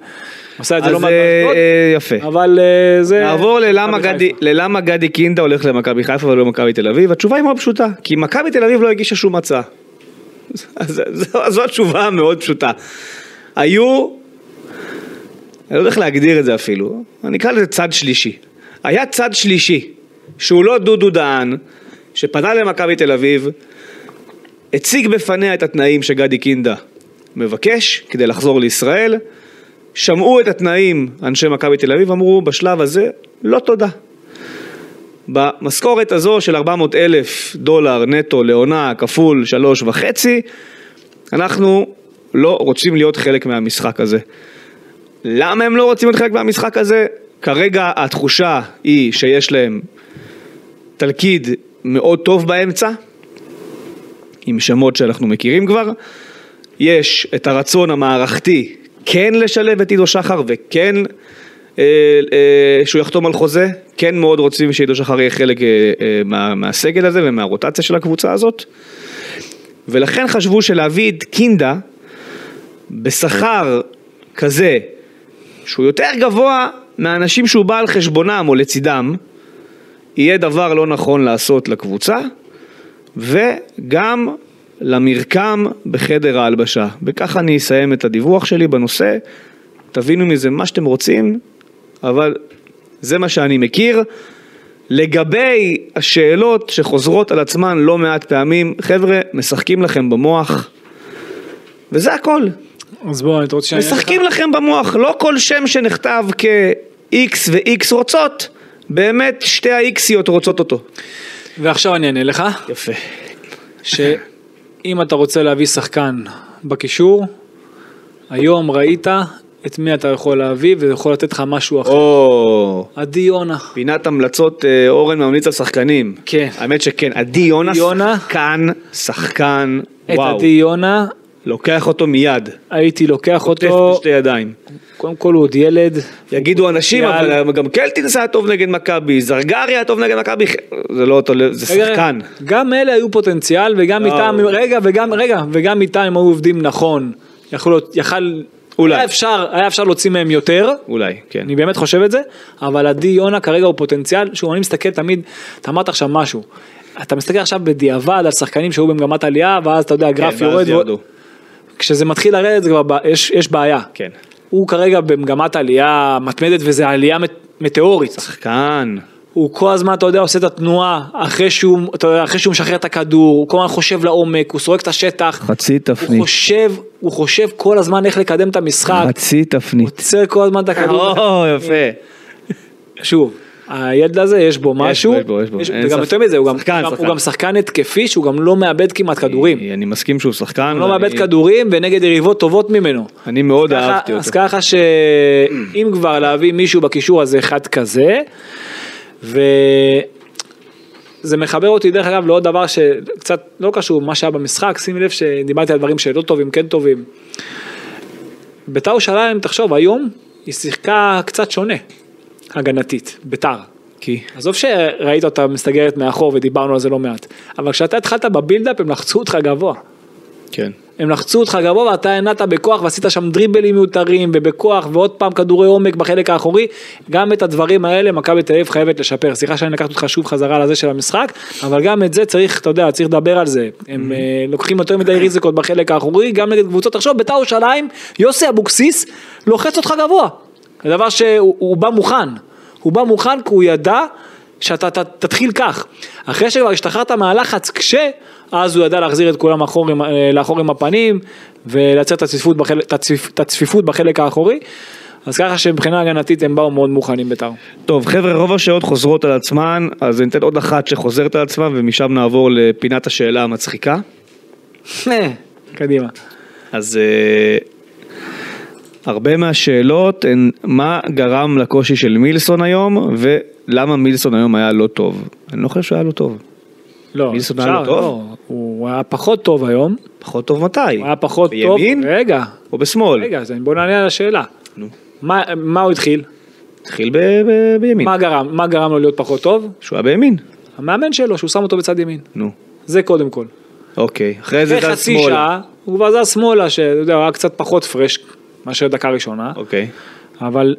[SPEAKER 3] עושה את זה
[SPEAKER 2] אז
[SPEAKER 3] לא מעט
[SPEAKER 2] אה,
[SPEAKER 3] באשדוד,
[SPEAKER 2] אה, יפה.
[SPEAKER 3] אבל אה, זה...
[SPEAKER 2] נעבור ללמה
[SPEAKER 3] מכבי
[SPEAKER 2] גדי-
[SPEAKER 3] חיפה.
[SPEAKER 2] ללמה גדי קינדה הולך למכבי חיפה ולא למכבי תל אביב, התשובה היא מאוד פשוטה, כי מכבי תל אביב לא הגישה שום הצעה. <laughs> אז- זו- זו התשובה המאוד פשוטה. היו, אני לא יודע איך להגדיר את זה אפילו, אני אקרא לזה צד שלישי. היה צד שלישי, שהוא לא דודו דהן, שפנה למכבי תל אביב, הציג בפניה את התנאים שגדי קינדה מבקש כדי לחזור לישראל, שמעו את התנאים אנשי מכבי תל אביב, אמרו בשלב הזה לא תודה. במשכורת הזו של 400 אלף דולר נטו לעונה כפול שלוש וחצי, אנחנו לא רוצים להיות חלק מהמשחק הזה. למה הם לא רוצים להיות חלק מהמשחק הזה? כרגע התחושה היא שיש להם תלכיד מאוד טוב באמצע, עם שמות שאנחנו מכירים כבר. יש את הרצון המערכתי כן לשלב את עידו שחר וכן אה, אה, שהוא יחתום על חוזה, כן מאוד רוצים שעידו שחר יהיה חלק אה, אה, מה, מהסגל הזה ומהרוטציה של הקבוצה הזאת. ולכן חשבו שלהביא את קינדה בשכר כזה שהוא יותר גבוה מהאנשים שהוא בא על חשבונם או לצידם, יהיה דבר לא נכון לעשות לקבוצה, וגם למרקם בחדר ההלבשה. וככה אני אסיים את הדיווח שלי בנושא. תבינו מזה מה שאתם רוצים, אבל זה מה שאני מכיר. לגבי השאלות שחוזרות על עצמן לא מעט פעמים, חבר'ה, משחקים לכם במוח, וזה הכל.
[SPEAKER 3] אז בוא, אתה רוצה שאני... אענה לך?
[SPEAKER 2] משחקים לכם במוח, לא כל שם שנכתב כ-X ו-X רוצות, באמת שתי ה-Xיות רוצות אותו.
[SPEAKER 3] ועכשיו אני אענה לך,
[SPEAKER 2] יפה.
[SPEAKER 3] שאם אתה רוצה להביא שחקן בקישור, היום ראית את מי אתה יכול להביא ויכול לתת לך משהו אחר.
[SPEAKER 2] או,
[SPEAKER 3] עדי יונה.
[SPEAKER 2] פינת המלצות אה, אורן ממליץ על שחקנים.
[SPEAKER 3] כן.
[SPEAKER 2] האמת שכן, עדי יונה
[SPEAKER 3] יונה.
[SPEAKER 2] שחקן, שחקן,
[SPEAKER 3] את
[SPEAKER 2] וואו.
[SPEAKER 3] עדי יונה
[SPEAKER 2] לוקח אותו מיד.
[SPEAKER 3] הייתי לוקח
[SPEAKER 2] אותו...
[SPEAKER 3] אותו,
[SPEAKER 2] בשתי ידיים.
[SPEAKER 3] קודם כל הוא עוד ילד,
[SPEAKER 2] יגידו אנשים,
[SPEAKER 3] יאללה.
[SPEAKER 2] אבל אה, גם קלטינס היה טוב נגד מכבי, זרגרי היה טוב נגד מכבי, זה לא אותו, לב, זה
[SPEAKER 3] רגע,
[SPEAKER 2] שחקן.
[SPEAKER 3] רגע, גם אלה היו פוטנציאל וגם
[SPEAKER 2] לא.
[SPEAKER 3] איתם, רגע וגם, רגע, וגם איתם אם היו עובדים נכון, יכול להיות, יכל,
[SPEAKER 2] אולי.
[SPEAKER 3] היה אפשר, היה אפשר להוציא מהם יותר,
[SPEAKER 2] אולי, כן.
[SPEAKER 3] אני באמת חושב את זה, אבל עדי יונה כרגע הוא פוטנציאל, שהוא אני מסתכל תמיד, אתה אמרת עכשיו משהו, אתה מסתכל עכשיו בדיעבד על שחקנים שהיו במגמת עלייה, ואז אתה יודע, הגרף
[SPEAKER 2] כן, ואז
[SPEAKER 3] יורד,
[SPEAKER 2] ירדו.
[SPEAKER 3] כשזה מתחיל לרדת, זה כבר ב- יש, יש בעיה.
[SPEAKER 2] כן.
[SPEAKER 3] הוא כרגע במגמת עלייה מתמדת, וזו עלייה מט- מטאורית.
[SPEAKER 2] שחקן.
[SPEAKER 3] הוא כל הזמן, אתה יודע, עושה את התנועה, אחרי שהוא, אתה יודע, אחרי שהוא משחרר את הכדור, הוא כל הזמן חושב לעומק, הוא סורק את השטח.
[SPEAKER 4] חצי
[SPEAKER 3] הוא
[SPEAKER 4] תפנית.
[SPEAKER 3] חושב, הוא חושב כל הזמן איך לקדם את המשחק.
[SPEAKER 4] חצי תפנית.
[SPEAKER 3] עוצר כל הזמן את
[SPEAKER 2] <laughs>
[SPEAKER 3] הכדור.
[SPEAKER 2] או, יפה.
[SPEAKER 3] שוב, הילד הזה יש בו משהו,
[SPEAKER 2] יש בו, יש בו. אין
[SPEAKER 3] וגם
[SPEAKER 2] ספק.
[SPEAKER 3] יותר מזה, הוא גם-
[SPEAKER 2] שחקן,
[SPEAKER 3] גם-
[SPEAKER 2] שחקן.
[SPEAKER 3] הוא גם שחקן התקפי שהוא גם לא מאבד כמעט כדורים. הוא
[SPEAKER 2] אני- אני מסכים שהוא שחקן.
[SPEAKER 3] לא
[SPEAKER 2] ואני-
[SPEAKER 3] מאבד כדורים ונגד יריבות טובות ממנו.
[SPEAKER 2] אני מאוד
[SPEAKER 3] ככה-
[SPEAKER 2] אהבתי
[SPEAKER 3] אז
[SPEAKER 2] אותו.
[SPEAKER 3] ככה שאם כבר להביא מישהו בקישור הזה אחד כזה, וזה מחבר אותי דרך אגב לעוד דבר שקצת לא קשור למה שהיה במשחק, שימי לב שדיברתי על דברים שלא טובים, כן טובים. ביתר ירושלים, תחשוב, היום היא שיחקה קצת שונה, הגנתית, ביתר.
[SPEAKER 2] כי?
[SPEAKER 3] עזוב שראית אותה מסתגרת מאחור ודיברנו על זה לא מעט, אבל כשאתה התחלת בבילדאפ הם לחצו אותך גבוה.
[SPEAKER 2] כן.
[SPEAKER 3] הם לחצו אותך גבוה ואתה הנעת בכוח ועשית שם דריבלים מיותרים ובכוח ועוד פעם כדורי עומק בחלק האחורי. גם את הדברים האלה מכבי תל אביב חייבת לשפר. סליחה שאני לקחת אותך שוב חזרה לזה של המשחק, אבל גם את זה צריך, אתה יודע, צריך לדבר על זה. הם אה, לוקחים יותר מדי ריזיקות בחלק האחורי, גם נגד קבוצות. תחשוב, בית"ר ירושלים, יוסי אבוקסיס לוחץ אותך גבוה. זה דבר שהוא הוא בא מוכן. הוא בא מוכן כי הוא ידע שאתה ת, תתחיל כך. אחרי שכבר השתחררת מהלחץ קשה, אז הוא ידע להחזיר את כולם אחור עם, אה, לאחור עם הפנים ולייצר את הצפיפות בחלק, את הצפיפ, את הצפיפות בחלק האחורי. אז ככה שמבחינה הגנתית הם באו מאוד מוכנים בית"ר.
[SPEAKER 2] טוב, חבר'ה, רוב השאלות חוזרות על עצמן, אז ניתן עוד אחת שחוזרת על עצמה, ומשם נעבור לפינת השאלה המצחיקה.
[SPEAKER 3] קדימה.
[SPEAKER 2] אז אה, הרבה מהשאלות הן מה גרם לקושי של מילסון היום, ולמה מילסון היום היה לא טוב. אני לא חושב שהוא היה לא טוב.
[SPEAKER 3] לא,
[SPEAKER 2] מילסון היה לא טוב?
[SPEAKER 3] לא, הוא היה פחות טוב היום.
[SPEAKER 2] פחות טוב מתי?
[SPEAKER 3] הוא היה פחות טוב.
[SPEAKER 2] בימין
[SPEAKER 3] רגע,
[SPEAKER 2] או בשמאל?
[SPEAKER 3] רגע, אז בוא נענה על השאלה. מה, מה הוא התחיל?
[SPEAKER 2] התחיל ב- ב- בימין.
[SPEAKER 3] מה גרם, מה גרם לו להיות פחות טוב?
[SPEAKER 2] שהוא היה בימין.
[SPEAKER 3] המאמן שלו, שהוא שם אותו בצד ימין.
[SPEAKER 2] נו.
[SPEAKER 3] זה קודם כל.
[SPEAKER 2] אוקיי. אחרי זה
[SPEAKER 3] אחרי
[SPEAKER 2] זז
[SPEAKER 3] חצי
[SPEAKER 2] שמאלה.
[SPEAKER 3] שעה, הוא כבר זז שמאלה, שאתה יודע, הוא היה קצת פחות פרש מאשר דקה ראשונה,
[SPEAKER 2] אוקיי.
[SPEAKER 3] אבל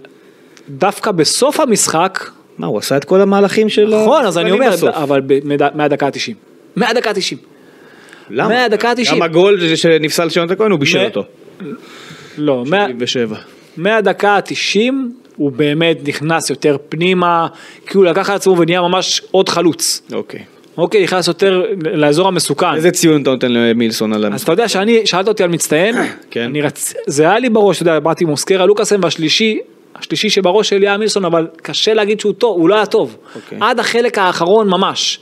[SPEAKER 3] דווקא בסוף המשחק,
[SPEAKER 2] מה, הוא עשה את כל המהלכים של...
[SPEAKER 3] נכון, אז אני
[SPEAKER 2] השחקנים
[SPEAKER 3] אומר,
[SPEAKER 2] לא, בסוף.
[SPEAKER 3] אבל ב- מד- מהדקה ה-90. מהדקה ה-90.
[SPEAKER 2] למה?
[SPEAKER 3] מהדקה ה-90.
[SPEAKER 2] גם הגול ש- שנפסל של יונתן כהן, הוא בישל
[SPEAKER 3] מה-
[SPEAKER 2] אותו.
[SPEAKER 3] לא, מה-
[SPEAKER 2] 77.
[SPEAKER 3] מהדקה ה-90 הוא באמת נכנס יותר פנימה, כי הוא לקח על עצמו ונהיה ממש עוד חלוץ.
[SPEAKER 2] אוקיי.
[SPEAKER 3] אוקיי, נכנס יותר לאזור המסוכן.
[SPEAKER 2] איזה ציון אתה נותן למילסון על
[SPEAKER 3] אז
[SPEAKER 2] המשחק?
[SPEAKER 3] אתה יודע שאני, שאלת אותי על מצטיין,
[SPEAKER 2] <coughs> כן.
[SPEAKER 3] אני רצ... זה היה לי בראש, אתה יודע, באתי עם אוסקרה לוקאסם והשלישי, השלישי שבראש שלי היה מילסון, אבל קשה להגיד שהוא טוב, הוא לא היה טוב,
[SPEAKER 2] אוקיי.
[SPEAKER 3] עד החלק האחרון ממש,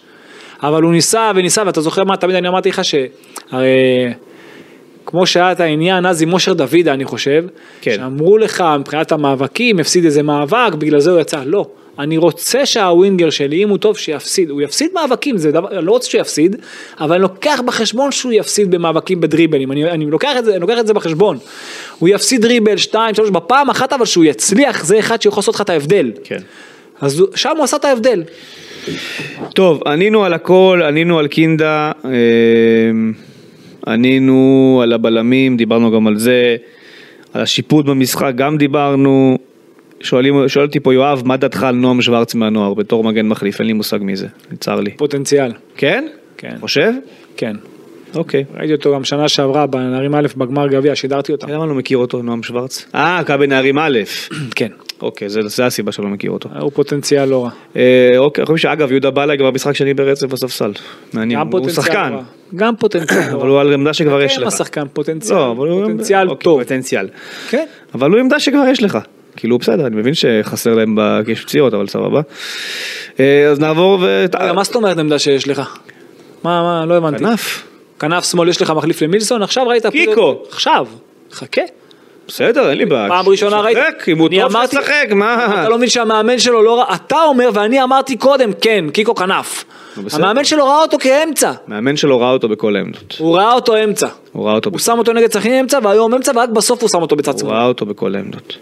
[SPEAKER 3] אבל הוא ניסה וניסה, ואתה זוכר מה תמיד אני אמרתי לך שהרי... כמו שהיה את העניין אז עם מושר דוידה אני חושב,
[SPEAKER 2] כן.
[SPEAKER 3] שאמרו לך מבחינת המאבקים הפסיד איזה מאבק בגלל זה הוא יצא, לא, אני רוצה שהווינגר שלי אם הוא טוב שיפסיד, הוא יפסיד מאבקים, זה דבר, אני לא רוצה שהוא יפסיד, אבל אני לוקח בחשבון שהוא יפסיד במאבקים בדריבלים, אני, אני, לוקח, את זה, אני לוקח את זה בחשבון, הוא יפסיד דריבל 2, 3 בפעם אחת אבל שהוא יצליח זה אחד שיכול לעשות לך את ההבדל,
[SPEAKER 2] כן.
[SPEAKER 3] אז הוא- שם הוא עשה את ההבדל,
[SPEAKER 2] טוב, ענינו על הכל, ענינו על קינדה, אמ, ענינו על הבלמים, דיברנו גם על זה, על השיפוט במשחק גם דיברנו. שואלים, שואל אותי פה יואב, מה דעתך על נועם שוורץ מהנוער בתור מגן מחליף? אין לי מושג מי זה, צר לי.
[SPEAKER 3] פוטנציאל,
[SPEAKER 2] כן?
[SPEAKER 3] כן.
[SPEAKER 2] חושב?
[SPEAKER 3] כן,
[SPEAKER 2] אוקיי.
[SPEAKER 3] ראיתי אותו גם שנה שעברה בנערים א' בגמר גביע, שידרתי אותם,
[SPEAKER 2] למה אני לא מכיר אותו, נועם שוורץ? אה, קבל נערים א'.
[SPEAKER 3] כן.
[SPEAKER 2] אוקיי, זה, זה הסיבה שאני לא מכיר אותו.
[SPEAKER 3] הוא פוטנציאל לא רע.
[SPEAKER 2] אה, אוקיי, אנחנו חושבים שאגב, יהודה בלאי כבר משחק שני ברצף בספסל. מעניין,
[SPEAKER 3] גם
[SPEAKER 2] הוא
[SPEAKER 3] פוטנציאל
[SPEAKER 2] שחקן.
[SPEAKER 3] לא רע. גם פוטנציאל לא רע.
[SPEAKER 2] אבל הוא על עמדה שכבר יש
[SPEAKER 3] כן,
[SPEAKER 2] לך.
[SPEAKER 3] השחקן פוטנציאל.
[SPEAKER 2] לא, אבל הוא...
[SPEAKER 3] פוטנציאל
[SPEAKER 2] אוקיי,
[SPEAKER 3] טוב.
[SPEAKER 2] פוטנציאל.
[SPEAKER 3] כן.
[SPEAKER 2] אבל הוא עמדה שכבר יש לך. כאילו, בסדר, אני מבין שחסר להם ב- כי יש פציעות, אבל סבבה. אה, אז נעבור ו...
[SPEAKER 3] רגע, מה זאת אומרת עמדה שיש לך? מה, מה, לא הבנתי.
[SPEAKER 2] אה, כנף.
[SPEAKER 3] כנף שמאל יש לך מחליף למילסון? עכשיו ראית...
[SPEAKER 2] קיקו.
[SPEAKER 3] פתאום- עכשיו. חכה.
[SPEAKER 2] בסדר, אין לי בעיה.
[SPEAKER 3] פעם ראשונה ראית.
[SPEAKER 2] שחק, אם הוא
[SPEAKER 3] אני
[SPEAKER 2] טוב,
[SPEAKER 3] אמרתי-
[SPEAKER 2] שחק, מה?
[SPEAKER 3] אתה לא מבין שהמאמן שלו לא ראה... אתה אומר, ואני אמרתי קודם, כן, קיקו כנף.
[SPEAKER 2] נו, בסדר.
[SPEAKER 3] המאמן שלו ראה אותו כאמצע.
[SPEAKER 2] מאמן שלו ראה אותו בכל העמדות.
[SPEAKER 3] הוא ראה אותו אמצע.
[SPEAKER 2] הוא ראה אותו
[SPEAKER 3] הוא שם אותו נגד סכנין אמצע, והיום אמצע, ורק בסוף הוא שם אותו בצד
[SPEAKER 2] הוא
[SPEAKER 3] שמאל.
[SPEAKER 2] ראה אותו בכל העמדות.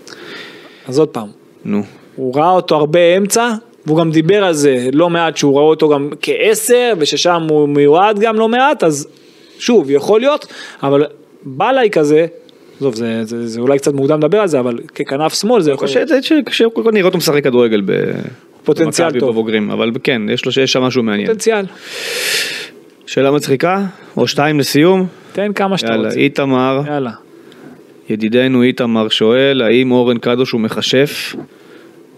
[SPEAKER 3] אז עוד פעם.
[SPEAKER 2] נו.
[SPEAKER 3] הוא ראה אותו הרבה אמצע, והוא גם דיבר על זה לא מעט, שהוא ראה אותו גם כעשר, וששם הוא מיועד גם לא מעט, אז שוב, יכול להיות, אבל בלאי כזה, עזוב, זה, זה, זה אולי קצת מוקדם לדבר על זה, אבל ככנף שמאל זה יכול
[SPEAKER 2] לא קשה
[SPEAKER 3] להיות
[SPEAKER 2] זה שקשה קודם כל נראה אותו משחק כדורגל ב...
[SPEAKER 3] פוטנציאל
[SPEAKER 2] במכבי
[SPEAKER 3] טוב.
[SPEAKER 2] בבוגרים, אבל כן, יש לו שיש שם משהו מעניין.
[SPEAKER 3] פוטנציאל.
[SPEAKER 2] שאלה מצחיקה, או שתיים לסיום.
[SPEAKER 3] תן כמה שאתה
[SPEAKER 2] יאללה,
[SPEAKER 3] רוצה.
[SPEAKER 2] איתמר,
[SPEAKER 3] יאללה.
[SPEAKER 2] ידידנו איתמר שואל, האם אורן קדוש הוא מכשף?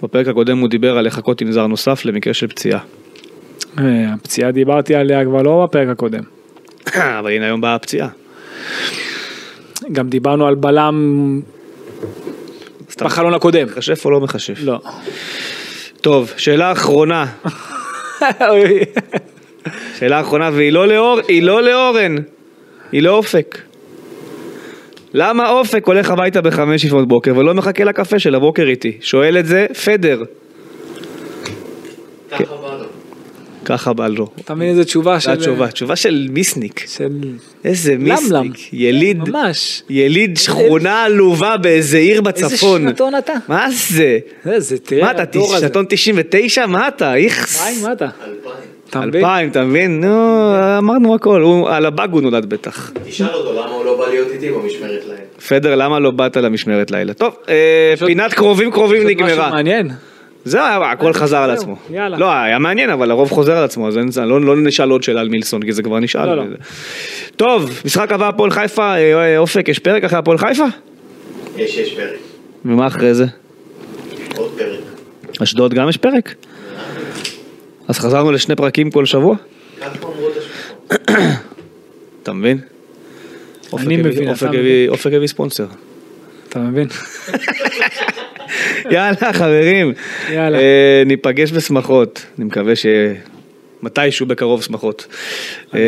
[SPEAKER 2] בפרק הקודם הוא דיבר על לחכות עם זר נוסף למקרה של פציעה. <coughs>
[SPEAKER 3] אה, הפציעה דיברתי עליה כבר לא בפרק הקודם.
[SPEAKER 2] אבל הנה היום באה הפציעה.
[SPEAKER 3] גם דיברנו על בלם
[SPEAKER 2] אז אתה <laughs>
[SPEAKER 3] בחלון הקודם.
[SPEAKER 2] מכשף או לא מכשף?
[SPEAKER 3] לא. <laughs>
[SPEAKER 2] טוב, שאלה <laughs> אחרונה. שאלה אחרונה, והיא לא לאור, היא לא לאורן. היא לאופק. למה אופק הולך הביתה בחמש לפנות בוקר ולא מחכה לקפה של הבוקר איתי? שואל את זה פדר. ככה בא לו.
[SPEAKER 3] אתה מבין איזה תשובה של...
[SPEAKER 2] זו התשובה, תשובה של מיסניק.
[SPEAKER 3] של...
[SPEAKER 2] איזה
[SPEAKER 3] למלם.
[SPEAKER 2] מיסניק. יליד,
[SPEAKER 3] ממש.
[SPEAKER 2] יליד שכונה עלובה באיזה עיר
[SPEAKER 3] איזה
[SPEAKER 2] בצפון.
[SPEAKER 3] שנתון אתה?
[SPEAKER 2] מה אה, זה?
[SPEAKER 3] איזה, תראה,
[SPEAKER 2] מה אתה,
[SPEAKER 3] הדור הזה.
[SPEAKER 2] שנתון 99? מה אתה? איכס.
[SPEAKER 3] חיים, מה אתה? אתה מבין?
[SPEAKER 2] אלפיים, אתה מבין? נו, אמרנו הכל, הוא על הבאג הוא נולד בטח.
[SPEAKER 4] תשאל אותו למה הוא לא בא להיות איתי במשמרת להם.
[SPEAKER 2] פדר, למה לא באת למשמרת לילה? טוב, אה,
[SPEAKER 3] פשוט-
[SPEAKER 2] פינת קרובים קרובים
[SPEAKER 3] משהו
[SPEAKER 2] נגמרה.
[SPEAKER 3] מעניין.
[SPEAKER 2] זהו, הכל חזר על עצמו.
[SPEAKER 3] אה, יאללה.
[SPEAKER 2] לא, היה מעניין, אבל הרוב חוזר על עצמו, אז אין- לא לא נשאל עוד שאלה על מילסון, כי זה כבר
[SPEAKER 3] לא, לא.
[SPEAKER 2] נשאל. טוב, משחק הבא הפועל חיפה, אה, אה, אופק, יש פרק אחרי הפועל חיפה?
[SPEAKER 4] יש, יש פרק.
[SPEAKER 2] ומה אחרי זה?
[SPEAKER 4] עוד פרק.
[SPEAKER 2] אשדוד גם יש פרק? אז חזרנו לשני פרקים כל שבוע?
[SPEAKER 4] ככה אומרות השמועות.
[SPEAKER 2] אתה מבין? אופק
[SPEAKER 3] אני
[SPEAKER 2] הביא-
[SPEAKER 3] מבין, אתה
[SPEAKER 2] אופק
[SPEAKER 3] מבין.
[SPEAKER 2] הביא- אופק הביא ספונסר.
[SPEAKER 3] אתה
[SPEAKER 2] <laughs>
[SPEAKER 3] מבין?
[SPEAKER 2] יאללה חברים,
[SPEAKER 3] יאללה.
[SPEAKER 2] אה, ניפגש בשמחות, אני מקווה ש... מתישהו בקרוב שמחות. אה,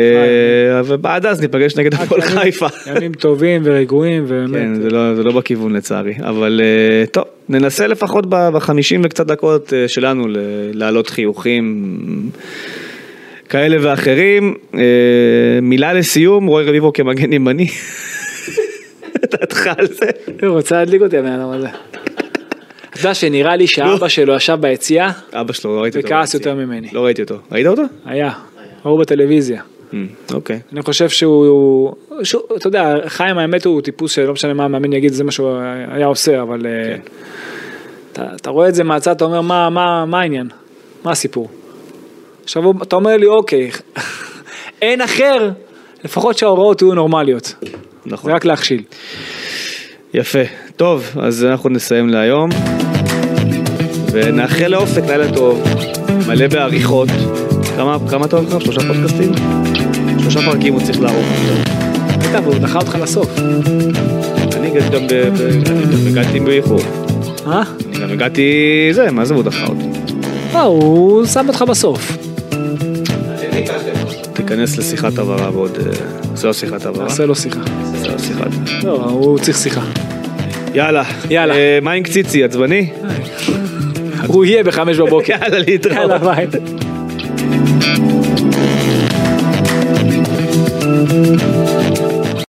[SPEAKER 2] ובעד אז ניפגש נגד הפועל
[SPEAKER 3] ימים-
[SPEAKER 2] חיפה.
[SPEAKER 3] ימים טובים ורגועים, ובאמת.
[SPEAKER 2] כן, זה לא, זה לא בכיוון לצערי, אבל אה, טוב, ננסה לפחות ב- בחמישים וקצת דקות אה, שלנו ל- להעלות חיוכים כאלה ואחרים. אה, מילה לסיום, רועי רביבו כמגן ימני. <laughs> דעתך על זה?
[SPEAKER 3] הוא רוצה להדליק אותי הבן אדם הזה. אתה יודע שנראה
[SPEAKER 2] לא.
[SPEAKER 3] לי שאבא שלו ישב ביציאה,
[SPEAKER 2] אבא שלו, לא ראיתי אותו.
[SPEAKER 3] וכעס יותר ממני.
[SPEAKER 2] לא ראיתי אותו. ראית אותו?
[SPEAKER 3] היה, ראו בטלוויזיה.
[SPEAKER 2] אמ, אוקיי.
[SPEAKER 3] אני חושב שהוא, שהוא, אתה יודע, חיים האמת הוא טיפוס שלא משנה מה המאמן יגיד, זה מה שהוא היה עושה, אבל אה, אתה, אתה רואה את זה מהצד, אתה אומר, מה, מה, מה העניין? מה הסיפור? עכשיו הוא- אתה אומר לי, אוקיי, <laughs> אין אחר, לפחות שההוראות יהיו נורמליות,
[SPEAKER 2] נכון.
[SPEAKER 3] זה רק להכשיל.
[SPEAKER 2] יפה. טוב, אז אנחנו נסיים להיום. ונאחל לאופק לילה טוב, מלא בעריכות. כמה, כמה אתה אומר? שלושה פודקאסטים? שלושה פרקים הוא צריך לערוך.
[SPEAKER 3] בטח, הוא דחה אותך לסוף.
[SPEAKER 2] אני הגעתי גם ב- ב- אני גם הגעתי באיחור.
[SPEAKER 3] אה?
[SPEAKER 2] אני גם הגעתי... זה, מה זה הוא דחה אותי?
[SPEAKER 3] לא, הוא שם אותך בסוף.
[SPEAKER 4] אתם ביקשתם.
[SPEAKER 2] תיכנס לשיחת הבהרה בעוד... אה, זה לא שיחת הבהרה.
[SPEAKER 3] נעשה לו שיחה.
[SPEAKER 2] זה לא שיחת...
[SPEAKER 3] לא, הוא צריך שיחה.
[SPEAKER 2] יאללה.
[SPEAKER 3] יאללה.
[SPEAKER 2] אה, מה עם קציצי? עצבני?
[SPEAKER 3] הוא יהיה בחמש בבוקר.
[SPEAKER 2] <laughs> יאללה, להתראות.
[SPEAKER 3] <laughs> יאללה, ביי.